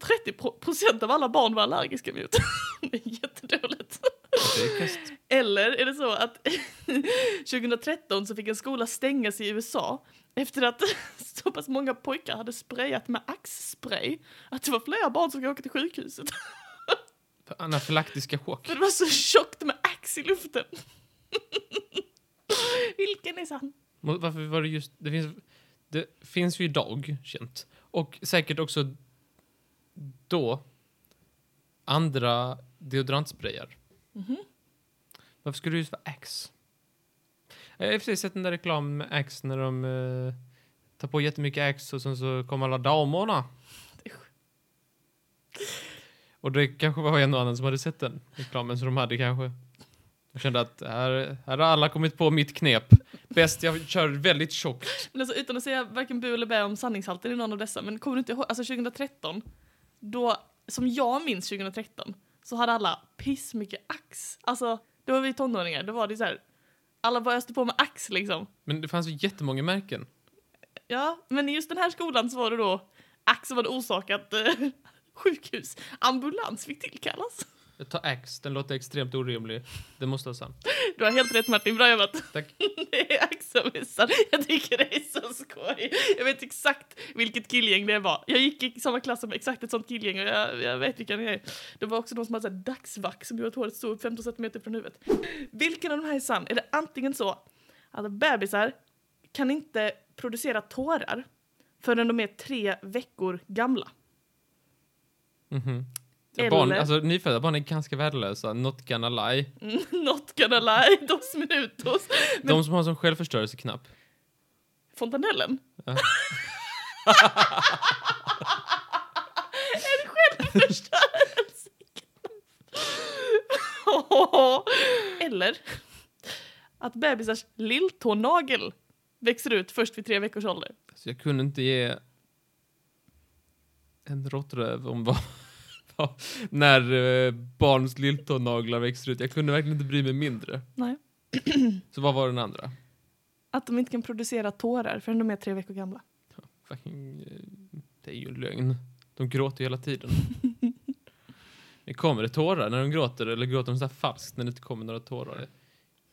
B: 30% av alla barn var allergiska mot. <laughs> Det är jättedåligt. Eller är det så att <laughs> 2013 så fick en skola stängas i USA efter att <laughs> så pass många pojkar hade sprayat med axspray att det var flera barn som fick åka till sjukhuset.
A: Anafylaktiska chock.
B: För det var så tjockt med ax i luften. <laughs> Vilken är sann?
A: Må- Varför var det just... Det finns, det finns ju idag, känt. Och säkert också då andra deodorantsprayar. Varför skulle det just vara Axe? Jag har i och för sig sett den där reklamen med Axe när de eh, tar på jättemycket Axe och sen så kommer alla damerna.
B: Usch.
A: Och det kanske var en och annan som hade sett den reklamen, så de hade kanske... De kände att här, här har alla kommit på mitt knep. Bäst jag kör väldigt tjockt.
B: Men alltså, utan att säga varken bu eller bä om sanningshalten i någon av dessa, men kommer du inte ihåg, alltså 2013, då, som jag minns 2013, så hade alla piss mycket ax. Alltså, då var vi tonåringar, då var det så här, alla bara öste på med ax liksom.
A: Men det fanns ju jättemånga märken.
B: Ja, men i just den här skolan så var det då ax som hade orsakat eh, <laughs> sjukhus. Ambulans fick tillkallas.
A: Jag tar Axe, den låter extremt orimlig. Det måste vara sant.
B: Du har helt rätt Martin, bra jobbat.
A: Tack.
B: <laughs> Det är Axelmissan. Jag tycker det är så skoj. Jag vet exakt vilket killgäng det var. Jag gick i samma klass som exakt ett sånt killgäng och jag, jag vet vilka ni är. Det var också de som hade så här dagsvack som gjorde att håret stod upp 15 centimeter från huvudet. Vilken av de här är sann? Är det antingen så att bebisar kan inte producera tårar förrän de är tre veckor gamla?
A: Mhm.
B: Eller-
A: Barn, alltså, nyfödda barn är ganska värdelösa. Not gonna lie.
B: Mm, <laughs> Not gonna lie, dos minutos. Men
A: De som har som självförstörelseknapp.
B: fontanellen?
A: Ja.
B: En självförstörelse. Eller att bebisars lilltånagel växer ut först vid tre veckors ålder.
A: Så jag kunde inte ge en råttröv om vad... <laughs> vad- När eh, barns lilltånaglar växer ut. Jag kunde verkligen inte bry mig mindre.
B: Nej.
A: Så vad var den andra?
B: Att de inte kan producera tårar förrän de är tre veckor gamla.
A: Fucking, eh, det är ju en lögn. De gråter ju hela tiden. det kommer det tårar när de gråter eller gråter de så här falskt när det inte kommer några tårar?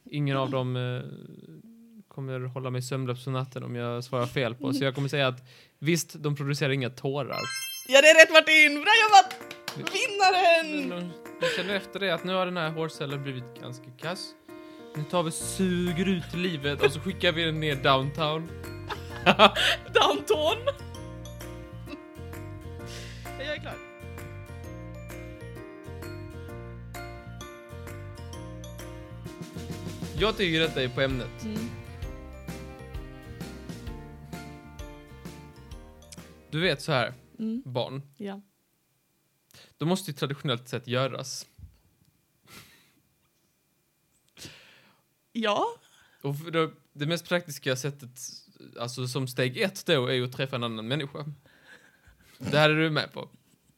A: Ingen av dem eh, kommer hålla mig sömnlös på natten om jag svarar fel på. Så jag kommer säga att visst, de producerar inga tårar.
B: Ja, det är rätt Martin! Bra jobbat! Vinnaren!
A: Men Jag känner efter det att nu har den här hårcellen blivit ganska kass. Nu tar vi suger ut livet och så skickar vi den ner downtown.
B: Downton! Jag är klar.
A: Jag tycker detta är på ämnet. Du vet så här,
B: Mm.
A: barn.
B: Ja.
A: De måste ju traditionellt sett göras.
B: Ja.
A: Och för det, det mest praktiska sättet, alltså som steg ett då, är ju att träffa en annan människa. Det här är du med på.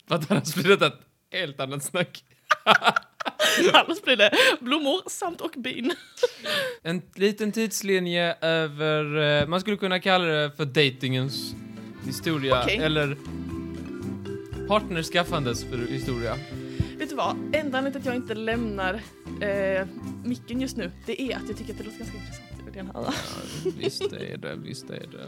A: För att annars blir detta ett helt annat snack.
B: <laughs> Annars blir det blommor samt och bin.
A: En liten tidslinje över, eh, man skulle kunna kalla det för datingens historia.
B: Okej.
A: Eller partnerskaffandes för historia.
B: Vet du vad? Enda anledningen till att jag inte lämnar eh, micken just nu, det är att jag tycker att det låter ganska intressant. Det är den här.
A: Visst är det, visst är det.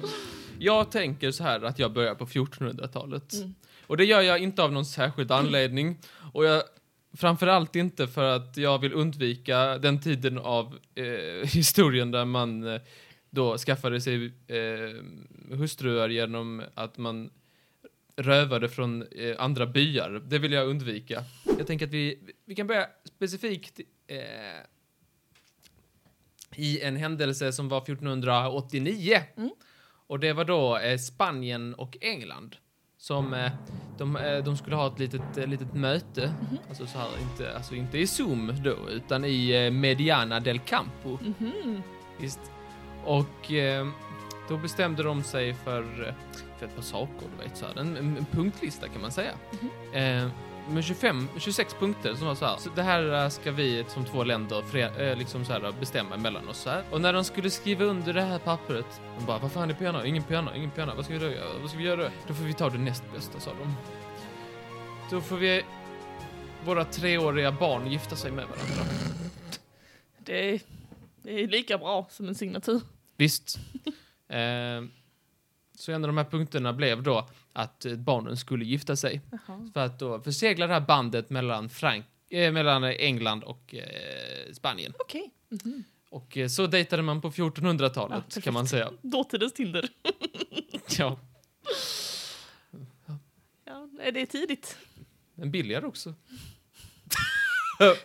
A: Jag tänker så här att jag börjar på 1400-talet.
B: Mm.
A: Och det gör jag inte av någon särskild anledning. Och jag framförallt inte för att jag vill undvika den tiden av eh, <laughs> historien där man eh, då skaffade sig eh, hustruar genom att man rövade från eh, andra byar. Det vill jag undvika. Jag tänker att vi, vi kan börja specifikt eh, i en händelse som var 1489.
B: Mm.
A: Och det var då eh, Spanien och England som eh, de, eh, de skulle ha ett litet, eh, litet möte.
B: Mhm.
A: Alltså, så här, inte, alltså inte i Zoom då, utan i eh, Mediana del Campo.
B: Mhm.
A: Visst. Och eh, då bestämde de sig för, eh, för ett par saker, du vet, så här, en, en punktlista kan man säga.
B: Mhm.
A: Eh, med 25, 26 punkter som var så här. Så det här eh, ska vi som två länder fre, eh, liksom så här, bestämma mellan oss. Så här. Och när de skulle skriva under det här pappret, de bara vad fan är penna? Ingen penna, ingen penna. Vad ska vi då göra? Vad ska vi göra? Då får vi ta det näst bästa, sa de. Då får vi våra treåriga barn gifta sig med varandra.
B: Det, är- det är lika bra som en signatur.
A: Visst. Eh, så en av de här punkterna blev då att eh, barnen skulle gifta sig för att då försegla det här bandet mellan, Frank eh, mellan England och eh, Spanien.
B: Okej. Mhm.
A: Och eh, så dejtade man på 1400-talet
B: Ja,
A: kan man säga.
B: Dåtidens Tinder. <laughs>
A: Ja,
B: Ja, nej, det är tidigt.
A: men billigare också.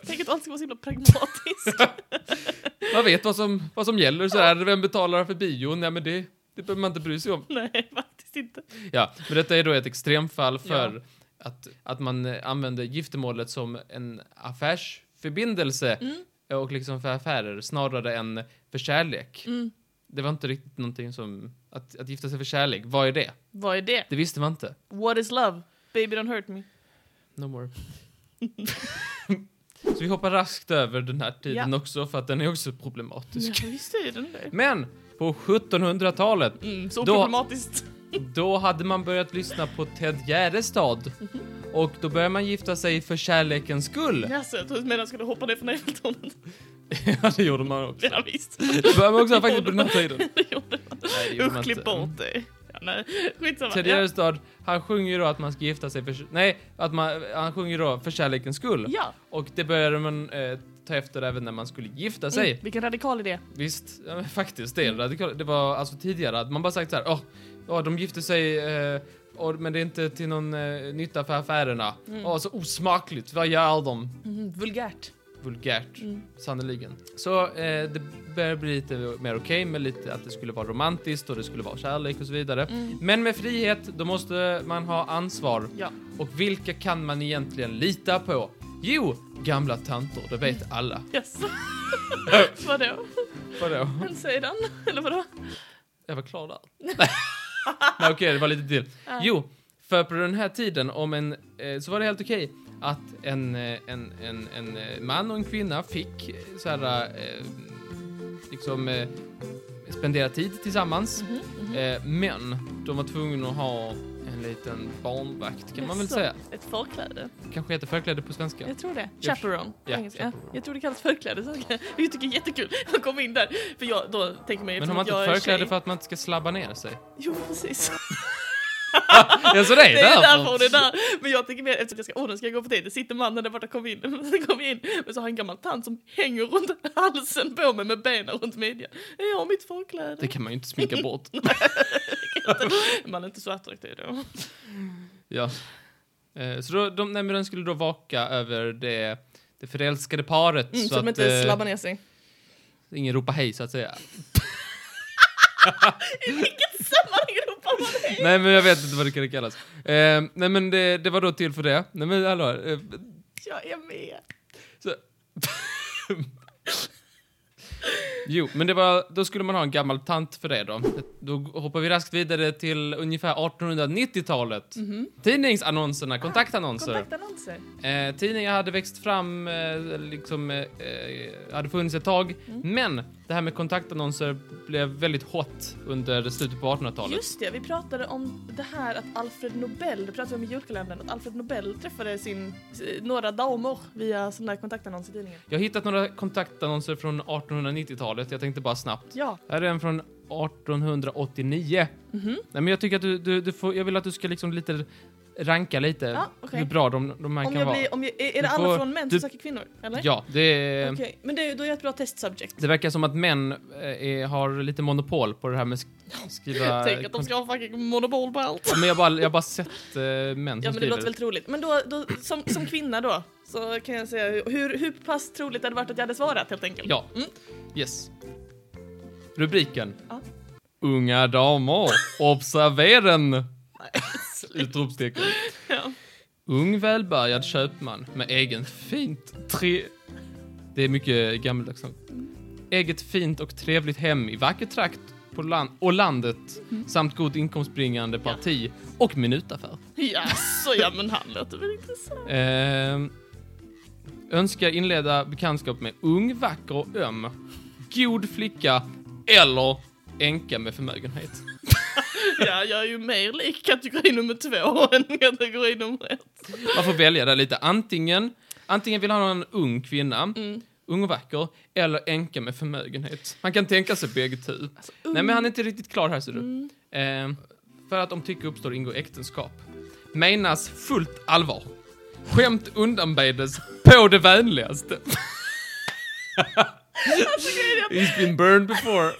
B: Tänk att allt ska vara så himla pragmatiskt. <laughs>
A: Man vet vad som, vad som gäller så här. Vem betalar för bion? Nej, men det, det behöver man inte bry sig om.
B: nej, faktiskt inte.
A: Ja, men detta är då ett extremfall för att, att man eh, använder giftermålet som en affärsförbindelse
B: Mm.
A: och liksom för affärer snarare än för kärlek.
B: Mm.
A: Det var inte riktigt någonting som, att, att gifta sig för kärlek, vad är det?
B: Vad är det?
A: Det visste man inte.
B: What is love? Baby don't hurt me.
A: No more. <laughs> Så vi hoppar raskt över den här tiden också för att den är också
B: Ja,
A: problematisk.
B: visst är den det.
A: Men på 1700-talet,
B: Mm, så
A: Då-
B: problematiskt.
A: då hade man börjat lyssna på Ted Gärdestad
B: Mhm.
A: och då började man gifta sig för kärlekens skull.
B: Jaså, jag trodde att medan skulle hoppa ner från Eiffeltornet.
A: <laughs> Ja, det gjorde man också.
B: <laughs> Ja, visst.
A: Det började man också faktiskt på den här tiden.
B: <laughs> Det gjorde man.
A: Nej, det gjorde man
B: Usch, klipp
A: inte.
B: bort det. Ja, nej, skitsamma.
A: Ted
B: Ja.
A: Gärdestad, han sjunger ju då att man ska gifta sig för... Nej, att man, han sjunger ju då för kärlekens skull.
B: ja.
A: Och det började man eh, ta efter även när man skulle gifta sig.
B: Mm, vilken radikal idé.
A: Visst, ja, men faktiskt. Det, är radikalt. det var alltså tidigare att man bara sagt så här, åh, ja, de gifte sig, eh, och, men det är inte till någon eh, nytta för affärerna. Åh, så osmakligt, vad gör de?
B: Mm, vulgärt.
A: vulgärt,
B: Mm.
A: sannerligen. Så eh, det börjar bli lite mer okej med lite att det skulle vara romantiskt och det skulle vara kärlek och så vidare.
B: Mm.
A: Men med frihet, då måste man ha ansvar.
B: Ja.
A: Och vilka kan man egentligen lita på? Jo, gamla tanter, det vet
B: Mm.
A: alla. <laughs>
B: Yes. Vadå?
A: Vadå?
B: Men säger den? Eller vadå?
A: Jag var klar där. Nej, okej, det var lite till.
B: Ja.
A: Jo, för på den här tiden om en, eh, så var det helt okej att en, eh, en, en, en eh, man och en kvinna fick eh, så här, eh, liksom eh, spendera tid tillsammans.
B: Mhm, mhm.
A: Eh, men de var tvungna att ha en liten barnvakt kan man väl
B: Jaså,
A: säga.
B: Ett förkläde.
A: Kanske heter förkläde på svenska.
B: Jag tror det.
A: Jag-
B: Chaperone. på
A: Ja,
B: engelska.
A: chaperone.
B: Jag tror det kallas förkläde. Så <laughs> jag jag tycker det är jättekul att komma in där. För jag då tänker mig
A: Men har
B: eftersom
A: man inte
B: jag är
A: förkläde
B: tjej-
A: för att man inte ska slabba ner
B: <laughs>
A: sig?
B: Jo, precis.
A: Ja, så det är
B: Det är därför
A: därför.
B: hon är där. Men jag tänker mer eftersom jag ska, åh nu ska jag gå på tid. Det sitter mannen där borta, kom in. <laughs> kom in. Men så har jag en gammal tant som hänger runt halsen på mig med benen runt midjan. Jag har mitt förkläde.
A: Det kan man ju inte sminka bort.
B: Man är inte så attraktiv
A: Mm,
B: då.
A: Ja. Eh, Så då, de, nej, men den skulle då vaka över det, det förälskade paret
B: Mm, så,
A: så
B: de
A: att
B: inte
A: eh,
B: slabbar ner sig.
A: ingen ropar hej så att säga.
B: I vilket sammanhang ropar man det?
A: nej men jag vet inte vad det kan kallas. Eh, nej men det, det var då till för det. Nej men hallå. Eh,
B: Jag är med.
A: så. jo, men det var, då skulle man ha en gammal tant för det då. Då hoppar vi raskt vidare till ungefär 1890-talet.
B: Mhm.
A: Tidningsannonserna, kontaktannonser.
B: Kontaktannonser.
A: Eh, tidningar hade växt fram, eh, liksom, eh, eh, hade funnits ett tag.
B: Mm.
A: Men det här med kontaktannonser blev väldigt hot under slutet på 1800-talet.
B: Just det, vi pratade om det här att Alfred Nobel, det pratade vi om i julkalendern, att Alfred Nobel träffade sin, eh, några damer via sån där kontaktannons i tidningen.
A: Jag har hittat några kontaktannonser från 1890-talet. Jag tänkte bara snabbt.
B: Ja.
A: Här är en från 1889.
B: Mhm.
A: Nej, men jag tycker att du, du, du får, jag vill att du ska liksom lite ranka lite
B: Ja, okej.
A: hur bra de, de här
B: Om
A: kan
B: jag
A: vara.
B: blir, om jag, är, är
A: Du
B: det alla
A: får-
B: från män som
A: du-
B: söker kvinnor? Eller?
A: Ja, det är...
B: Okej, men det, är ju- då är jag ett bra testsubject.
A: Eh, Det verkar som att män eh, är, har lite monopol på det här med sk skriva...
B: <laughs> Tänk att de ska ha fucking monopol på allt.
A: Ja, Men jag har bara, jag har bara sett eh, män
B: Ja
A: som
B: men det
A: skriver.
B: låter väldigt roligt. Men då, då som, som kvinna då, så kan jag säga hur, hur pass troligt det hade varit att jag hade svarat helt enkelt.
A: Ja.
B: Mm.
A: Yes. Rubriken.
B: Ja.
A: Unga damer, observeren! <laughs> Utropstecken.
B: Ja.
A: Ung välbärgad köpman med egen fint tre... Det är mycket gammaldags sång. Eget fint och trevligt hem i vacker trakt på land och landet
B: Mm.
A: samt god inkomstbringande parti och minutaffär.
B: Jaså, ja men han låter väl intressant.
A: Ehm, önskar inleda bekantskap med ung, vacker och öm, god flicka eller änka med förmögenhet.
B: Ja, jag är ju mer lik kategori nummer två <laughs> än kategori nummer ett.
A: Man får välja där lite. Antingen, antingen vill han ha en ung kvinna, ung och vacker, eller änka med förmögenhet. Han kan tänka sig bägge tu. Nej,
B: Mm.
A: men han är inte riktigt klar här, ser du. Ehm, för att om tycke uppstår ingår äktenskap. Menas fullt allvar. Skämt undanbedes på det vänligaste. It's been burned before.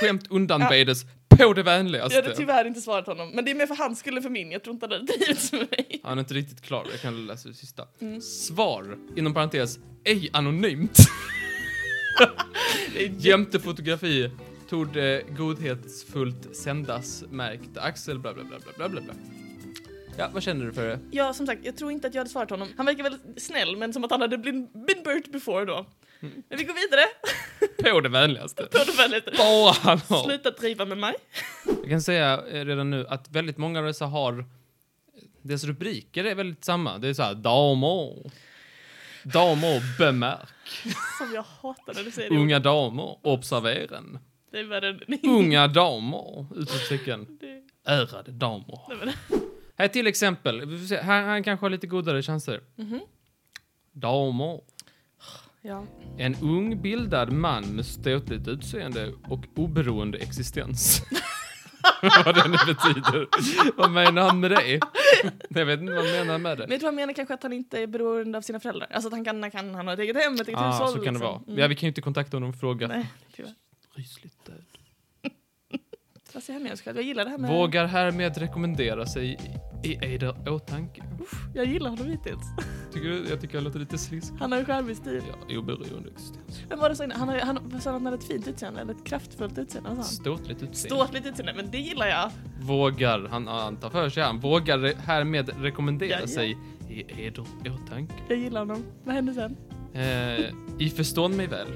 A: Skämt undanbedes på det
B: Jag hade
A: vänligaste.
B: tyvärr inte svarat honom, men det är mer för hans skull än för min. Jag tror inte det hade drivits med mig.
A: Han är inte riktigt klar, jag kan läsa det sista. Svar, inom parentes, ej anonymt.
B: Det är jätte-
A: Jämte fotografi torde godhetsfullt sändas märkt Axel bla bla bla bla bla bla bla. Ja, vad känner du för det?
B: Ja, som sagt, jag tror inte att jag hade svarat honom. Han verkar väl snäll, men som att han hade blivit been burnt before då.
A: Mm.
B: Men vi går vidare. <laughs>
A: På det vänligaste.
B: På det väldigt.
A: Bara han har.
B: Sluta driva med mig.
A: Jag kan säga eh, redan nu att väldigt många av dessa har... eh, Deras rubriker är väldigt samma. Det är så här damer. Damer bemärk.
B: Som jag hatar när du säger det.
A: Unga damer. Observeren.
B: Det är värre <laughs> än...
A: Unga damer. Utropstecken.
B: Det-
A: Ärade damer.
B: Nej, men-
A: Här till exempel, vi får se, här, här kanske har lite godare chanser.
B: Mhm.
A: Damer.
B: Ja.
A: En ung bildad man med ståtligt utseende och oberoende existens. <laughs> vad det nu betyder. vad menar han med det? Jag vet inte vad han menar med
B: Men
A: det.
B: jag tror han menar kanske att han inte är beroende av sina föräldrar. Alltså att han kan, kan han ha ett eget hem, ett eget
A: Ah,
B: hushåll.
A: så kan det
B: liksom.
A: vara.
B: Mm.
A: Ja, vi kan ju inte kontakta honom och fråga.
B: Nej, tyvärr.
A: Rysligt död.
B: Vad säger jag med själv? Jag gillar det här med...
A: Vågar härmed rekommendera sig i eder åtanke.
B: Jag gillar honom hittills. <laughs>
A: Tycker du? Jag tycker jag låter lite slisk.
B: Han har ju charmig stil.
A: Ja, oberoende existens.
B: Vem var det som Han, har ju- han sa att han hade ett fint utseende, eller ett kraftfullt utseende sa han.
A: Ståtligt utseende.
B: Ståtligt utseende, men det gillar jag.
A: Vågar, han, han tar för sig, han vågar re- härmed rekommendera
B: Ja, ja.
A: sig i heder och åtanke.
B: Jag gillar honom. Vad hände sen? <laughs>
A: Eh, I förstånd mig väl.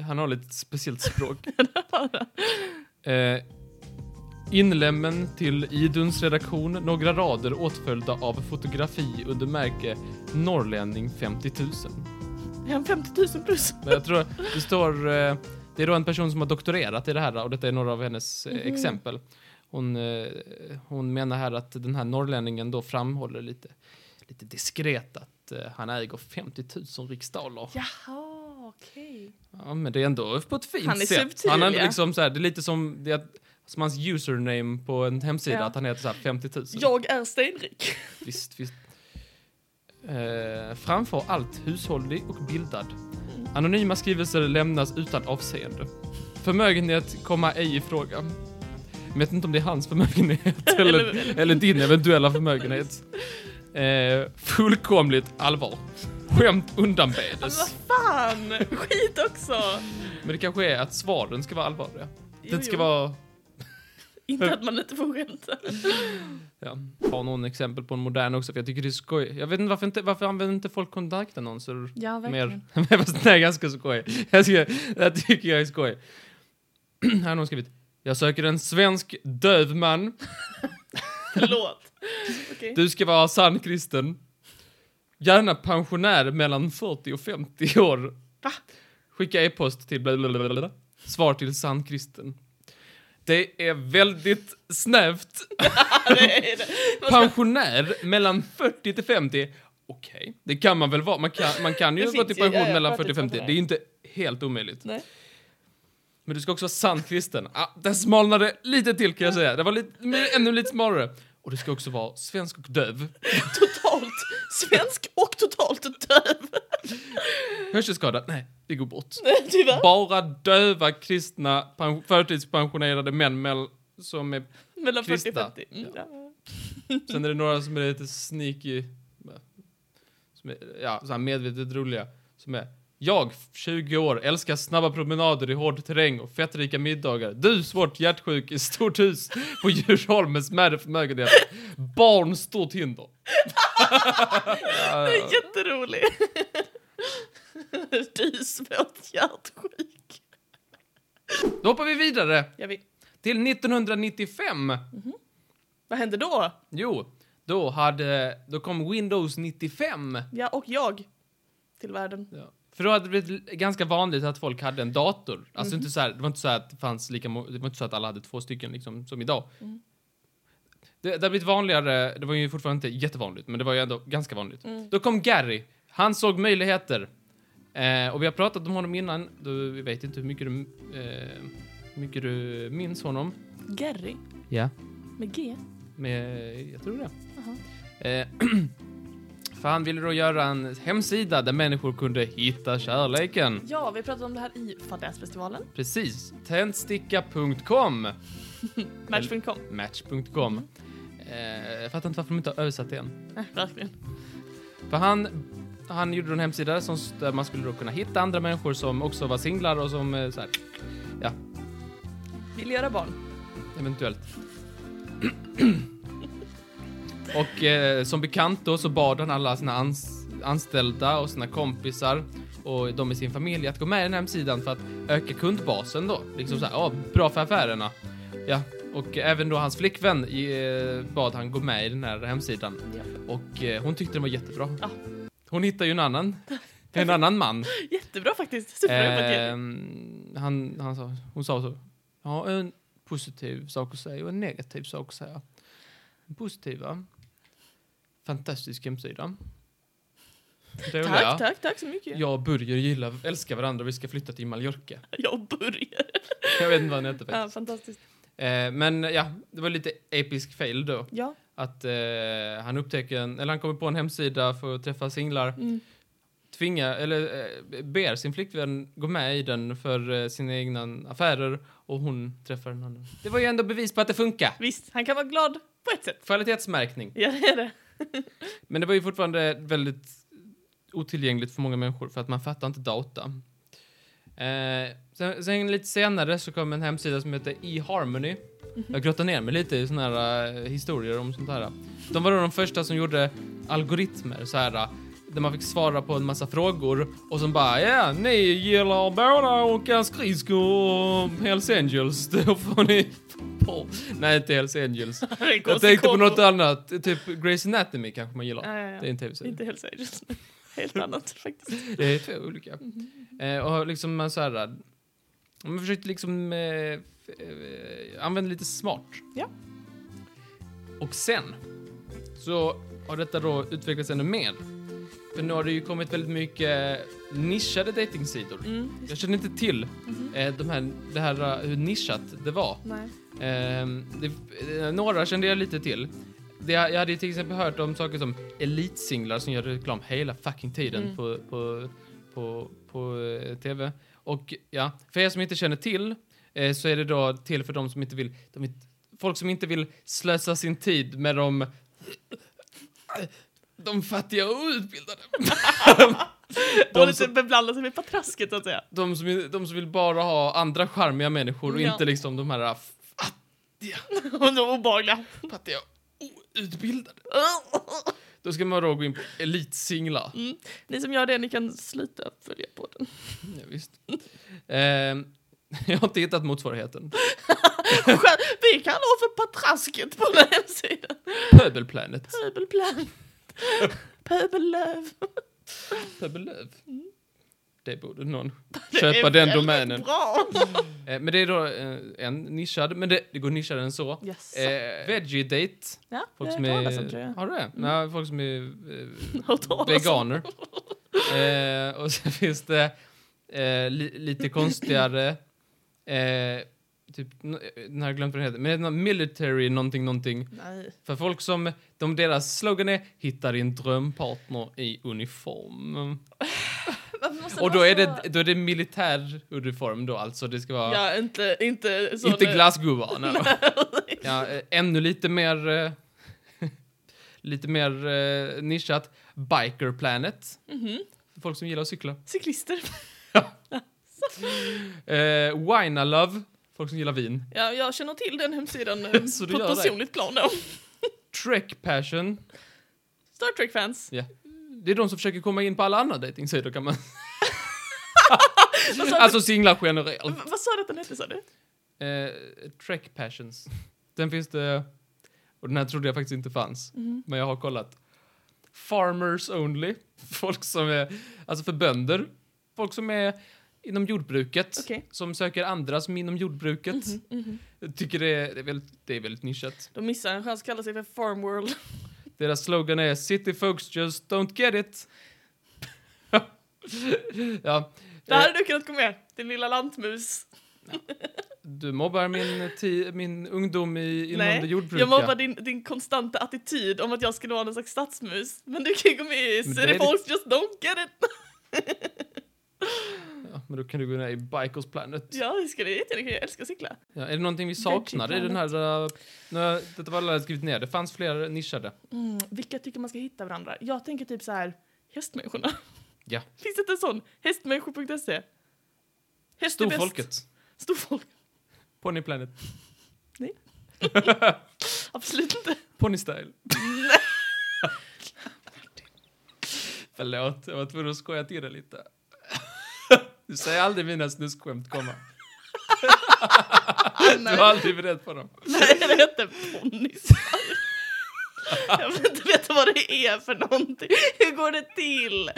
A: han har lite speciellt språk. eh, inlämmen till Iduns redaktion, några rader åtföljda av fotografi under märke Norrlänning 50 000.
B: Är han 50 000 plus?
A: Men jag tror det står... eh, Det är då en person som har doktorerat i det här och detta är några av hennes eh,
B: Mhm.
A: exempel. Hon, eh, hon menar här att den här norrlänningen då framhåller lite, lite diskret att eh, han äger 50 000 riksdaler. Ja.
B: Jaha, okej.
A: men det är ändå på ett fint
B: Han är
A: sätt.
B: subtil,
A: han är
B: ja.
A: liksom så här, det är lite som, det är, att- som hans username på en hemsida,
B: Ja.
A: att han heter så här 50 000.
B: Jag är Stenrik.
A: Visst, visst. Eh, framför allt hushållig och bildad. Anonyma skrivelser lämnas utan avseende. Förmögenhet komma ej i fråga. Jag vet inte om det är hans
B: <laughs>
A: förmögenhet eller, eller din eventuella förmögenhet. Eh, fullkomligt allvar. Skämt
B: Men
A: undanbedes.
B: vad fan! Skit också!
A: Men det kanske är att svaren ska vara allvarliga.
B: Jo,
A: Det ska
B: jo.
A: vara...
B: Inte att man inte får skämta.
A: Ja, ta någon exempel på en modern också, för jag tycker det är skoj. Jag vet inte varför, inte, varför använder inte folk kontaktannonser <laughs>
B: Ja,
A: Mer. Fast den är ganska skoj. Jag ska, det här tycker jag är skoj. <clears throat> här har någon skrivit. Jag söker en svensk döv man.
B: Förlåt. Okej.
A: Du ska vara sann kristen. Gärna pensionär mellan 40 och 50 år.
B: Va?
A: Skicka e-post till blablabla. Svar till sann kristen. Det är väldigt snävt.
B: Det är det. Vad ska-
A: Pensionär mellan 40 till 50. Okej, det kan man väl vara. Man kan, man kan ju
B: Det
A: gå till
B: finns ju, ja,
A: pension
B: ja,
A: mellan 40 och 50. Det
B: förtidspensionär.
A: är ju inte helt omöjligt.
B: Nej.
A: Men du ska också vara sann kristen. Ah, den smalnade lite till kan jag säga. Det var lite, men ännu lite smalare. Och du ska också vara svensk och döv.
B: Totalt svensk och totalt döv.
A: Hörselskada? Nej, det går bort.
B: Tyvärr.
A: Bara döva kristna pen- förtidspensionerade män mell- som är...
B: Mellan 40 och
A: Krista.
B: 50. Mm, ja.
A: Sen är det några som är lite sneaky. Som är, ja, så här medvetet roliga. Som är... Jag, 20 år, älskar snabba promenader i hård terräng och fettrika middagar. Du, svårt hjärtsjuk i stort hus på Djursholm med smärre förmögenhet. Barn, stort hinder.
B: Det är jätterolig. <laughs> Du är svårt hjärtsjuk.
A: Då hoppar vi vidare
B: Jag vet.
A: till 1995.
B: Vad hände då?
A: Jo, då, hade, då kom Windows 95.
B: Ja, och jag. Till världen.
A: Ja. För då hade det blivit ganska vanligt att folk hade en dator. Alltså inte så här, det var inte så här att det fanns lika må- det var inte så att alla hade två stycken liksom, som idag. Det, det hade blivit vanligare, det var ju fortfarande inte jättevanligt, men det var ju ändå ganska vanligt.
B: Mm.
A: Då kom Gary, han såg möjligheter. Eh, och vi har pratat om honom innan, du, vi vet inte hur mycket du, eh, hur mycket du minns honom.
B: Gary.
A: Ja.
B: Med G.
A: Med, jag tror det. Eh, <clears throat> för han ville då göra en hemsida där människor kunde hitta kärleken.
B: Ja, vi pratade om det här i Fadäsfestivalen.
A: Precis. Tändsticka.com.
B: Match.com.
A: Match.com. Eh, jag fattar inte varför de inte har översatt det än.
B: Nej, verkligen.
A: För han, han gjorde en hemsida som, där man skulle då kunna hitta andra människor som också var singlar och som eh, så här,
B: Vill göra barn.
A: Eventuellt. <clears throat> och eh, som bekant då så bad han alla sina ans anställda och sina kompisar och de i sin familj att gå med i den här hemsidan för att öka kundbasen då. Liksom såhär, ja, bra för affärerna. Ja, och även då hans flickvän eh, bad han gå med i den här hemsidan.
B: Ja.
A: Och eh, hon tyckte den var jättebra.
B: Ja.
A: Hon hittade ju en annan, en annan man.
B: Jättebra faktiskt. <laughs>
A: Eh,
B: Superbra Gary.
A: Ehm, han, han sa, hon sa så. Ja, en positiv sak att säga och en negativ sak att säga. Den positiva. Fantastisk hemsida.
B: Tack, tack, tack så mycket.
A: Jag och Börje gillar, älskar varandra vi ska flytta till Mallorca.
B: Jag börjar.
A: Jag vet inte vad han heter
B: Ja,
A: faktiskt.
B: fantastiskt.
A: Eh, men ja, det var lite episk fail då.
B: Ja.
A: Att eh, han upptäcker, en, eller han kommer på en hemsida för att träffa singlar.
B: Mm.
A: tvingar, eller eh, ber sin flickvän gå med i den för eh, sina egna affärer och hon träffar en annan. Det var ju ändå bevis på att det funkar.
B: Visst, han kan vara glad. På ett sätt. <laughs>
A: Kvalitetsmärkning.
B: Ja, det är det.
A: Men det var ju fortfarande väldigt otillgängligt för många människor för att man fattar inte data. Eh, sen, sen lite senare så kom en hemsida som hette eHarmony. Jag grottade ner mig lite i såna här eh, historier om sånt här. De var då de första som gjorde algoritmer så här eh, där man fick svara på en massa frågor och som bara ja, ni gillar båda åka skridskor och Hells Angels, <laughs> då får ni på. Nej, inte Hells Angels.
B: Det är en
A: Jag
B: konstig
A: tänkte på
B: kombo.
A: något annat, typ Grey's Anatomy kanske man gillar.
B: Ja, ja, ja.
A: Det är en tv-serie.
B: Inte Hells Angels. Helt annat faktiskt.
A: Det är två
B: <laughs>
A: olika.
B: Mm-hmm.
A: Eh, och liksom man så här... Man försökte liksom eh, eh, använda lite smart.
B: Ja.
A: Och sen så har detta då utvecklats ännu mer. För nu har det ju kommit väldigt mycket nischade datingsidor.
B: Mm. Mm-hmm.
A: Jag känner inte till eh, de här, det här, eh, hur nischat det var.
B: Nej.
A: Ehm, det, eh, några kände jag lite till. Det, jag hade ju till exempel hört om saker som elitsinglar som gör reklam hela fucking tiden
B: Mm.
A: på, på, på, på eh, tv. Och ja, för er som inte känner till eh, så är det då till för de som inte vill, de, inte- folk som inte vill slösa sin tid med de, de fattiga och outbildade. De
B: Och lite
A: som-
B: beblanda sig med patrasket så att säga. <laughs>
A: De som, de som vill bara ha andra charmiga människor och
B: Ja.
A: inte liksom de här fattiga,
B: Och de obehagliga.
A: <laughs> fattiga och outbildade. Då ska man då gå in på elitsinglar.
B: Mm. Ni som gör det, ni kan sluta följa på den.
A: Ja, visst. Ehm, <laughs> jag har inte hittat motsvarigheten.
B: Skär- <laughs> Vi kan ha för patrasket på den hemsidan.
A: Pöbelplanet.
B: Pöbelplan. Pöbellöv.
A: Pöbellöv.
B: Mm.
A: Det borde någon
B: Det
A: köpa
B: är
A: den
B: väldigt
A: domänen. <laughs>
B: Bra.
A: Eh, men det är då eh, en nischad, men det, det går nischare än så.
B: Yes.
A: Eh, veggie date.
B: ja,
A: Folk
B: jag
A: som
B: har hört talas
A: är...
B: om, tror jag.
A: Har du det? Nej, folk som
B: <laughs>
A: är eh,
B: Hört talas om.
A: veganer. eh, och sen <laughs> finns det eh, li, lite konstigare, eh, typ, n- den har jag glömt vad den heter, men det är någon military någonting någonting.
B: Nej.
A: För folk som, de deras slogan är “Hitta din drömpartner i uniform”.
B: Varför måste
A: och
B: det
A: då
B: vara
A: är,
B: så-
A: det, då är det militär uniform då, alltså det ska vara
B: Ja, inte, inte så...
A: inte
B: det-
A: glassgubbar. nej. ja, eh, ännu lite mer, eh, <laughs> lite mer eh, nischat, Biker Planet.
B: Mhm.
A: Folk som gillar att cykla.
B: Cyklister.
A: Eh, Wine Love, folk som gillar vin.
B: Ja, jag känner till den hemsidan eh,
A: <laughs> Så du
B: på ett
A: gör det?
B: personligt plan då.
A: Trek Passion,
B: Star Trek-fans.
A: det är de som försöker komma in på alla andra dejtingsidor kan man <laughs> Alltså singlar generellt.
B: V- Vad sa du att den hette sa du?
A: Eh, Trek Passions. <laughs> Den finns det, och den här trodde jag faktiskt inte fanns, men jag har kollat. Farmers Only, <laughs> folk som är, alltså för bönder, folk som är inom jordbruket,
B: Okej.
A: som söker andra som är inom jordbruket.
B: Mhm.
A: Jag tycker det är, det, är väldigt, det är väldigt nischat.
B: De missar en chans att kalla sig för Farm
A: Eh.
B: World.
A: Deras slogan är “City folks just don't get it”. <laughs> ja.
B: Det här hade du kunnat gå med, din lilla lantmus.
A: Eh, Du mobbar min, ti- min ungdom i, inom
B: Nej,
A: det jordbruka.
B: Jag mobbar din, din konstanta attityd om att jag skulle vara någon slags stadsmus. Men du kan ju gå med i
A: Men
B: City
A: det är
B: Folks Just Don't Get It.
A: ja, men då kan du gå ner i Bikers Planet. Ja.
B: Ja, det skulle jag jättegärna kunna göra. Jag älskar att cykla.
A: är det någonting vi saknar i den här... Uh, nu, har jag- detta var alla jag hade skrivit ner. Det fanns fler nischade.
B: Mm, vilka tycker man ska hitta varandra? Jag tänker typ så här, hästmänniskorna.
A: Ja.
B: <laughs> Finns det inte en sån? Hästmänniskor.se. Häst är bäst.
A: Storfolket.
B: Storfolk.
A: Pony Planet.
B: Absolut
A: <laughs>
B: inte.
A: Pony
B: <laughs>
A: Style. Förlåt, jag var tvungen att skoja till det lite. <laughs> Du säger aldrig mina snuskskämt komma. Du har aldrig beredd på dem.
B: Nej, det hette ponnis. <laughs> Jag vill inte veta vad det är för någonting. Hur går det till?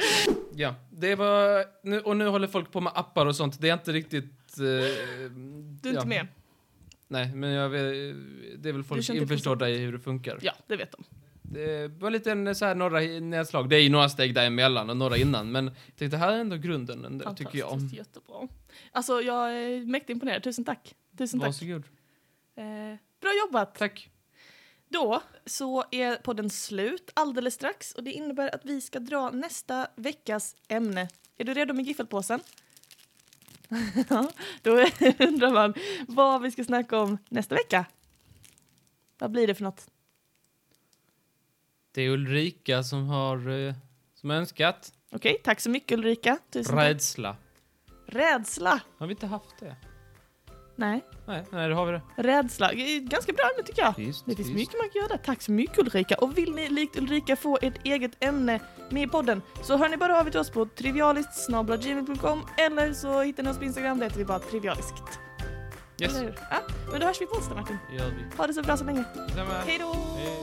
A: Ja, det var... Nu, och nu håller folk på med appar och sånt. Det är inte riktigt... eh,
B: Du är
A: ja.
B: inte med?
A: Nej, men jag vet, det är väl folk
B: känner till
A: införstådda i hur det funkar.
B: Ja, det vet de.
A: Eh, Det var lite en, så här, några i- nedslag. Det är ju några steg däremellan och några innan, men jag tänkte, här är ändå grunden ändå, tycker jag. Mm.
B: Fantastiskt, jättebra. Alltså, jag är mäktigt imponerad. Tusen tack. Tusen tack.
A: Varsågod.
B: Eh, bra jobbat.
A: Tack.
B: Då så är podden slut alldeles strax och det innebär att vi ska dra nästa veckas ämne. Är du redo med giffelpåsen? <laughs> Ja, Då undrar man vad vi ska snacka om nästa vecka. Vad blir det för något?
A: Det är Ulrika som har eh, som önskat.
B: Okej, tack så mycket Ulrika. Tusen tack.
A: Rädsla.
B: Rädsla.
A: Har vi inte haft det?
B: Nej,
A: Nej, nej, då har vi det.
B: rädsla. Det är Ganska bra ämne tycker jag.
A: Visst,
B: Det finns
A: visst.
B: mycket man kan göra. Tack så mycket Ulrika. Och vill ni likt Ulrika få ett eget ämne med i podden så hör ni bara av er till oss på trivialistsgmail.com eller så hittar ni oss på Instagram, där heter vi bara trivialiskt.
A: Yes,
B: Eller hur? Ja, men då hörs vi på onsdag Martin.
A: det gör vi.
B: Ha det så bra så länge.
A: Detsamma.
B: Hej då!
A: Hej.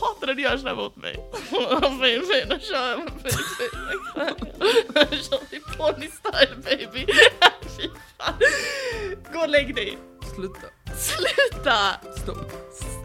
B: Hatar när du gör sådär mot mig. <laughs> Fin, fin, då kör jag. Fin, fin. Nu <laughs> kör vi Bonnie style baby. <laughs> Fy fan. Gå och lägg dig.
A: Sluta.
B: Sluta!
A: Stopp.
B: S-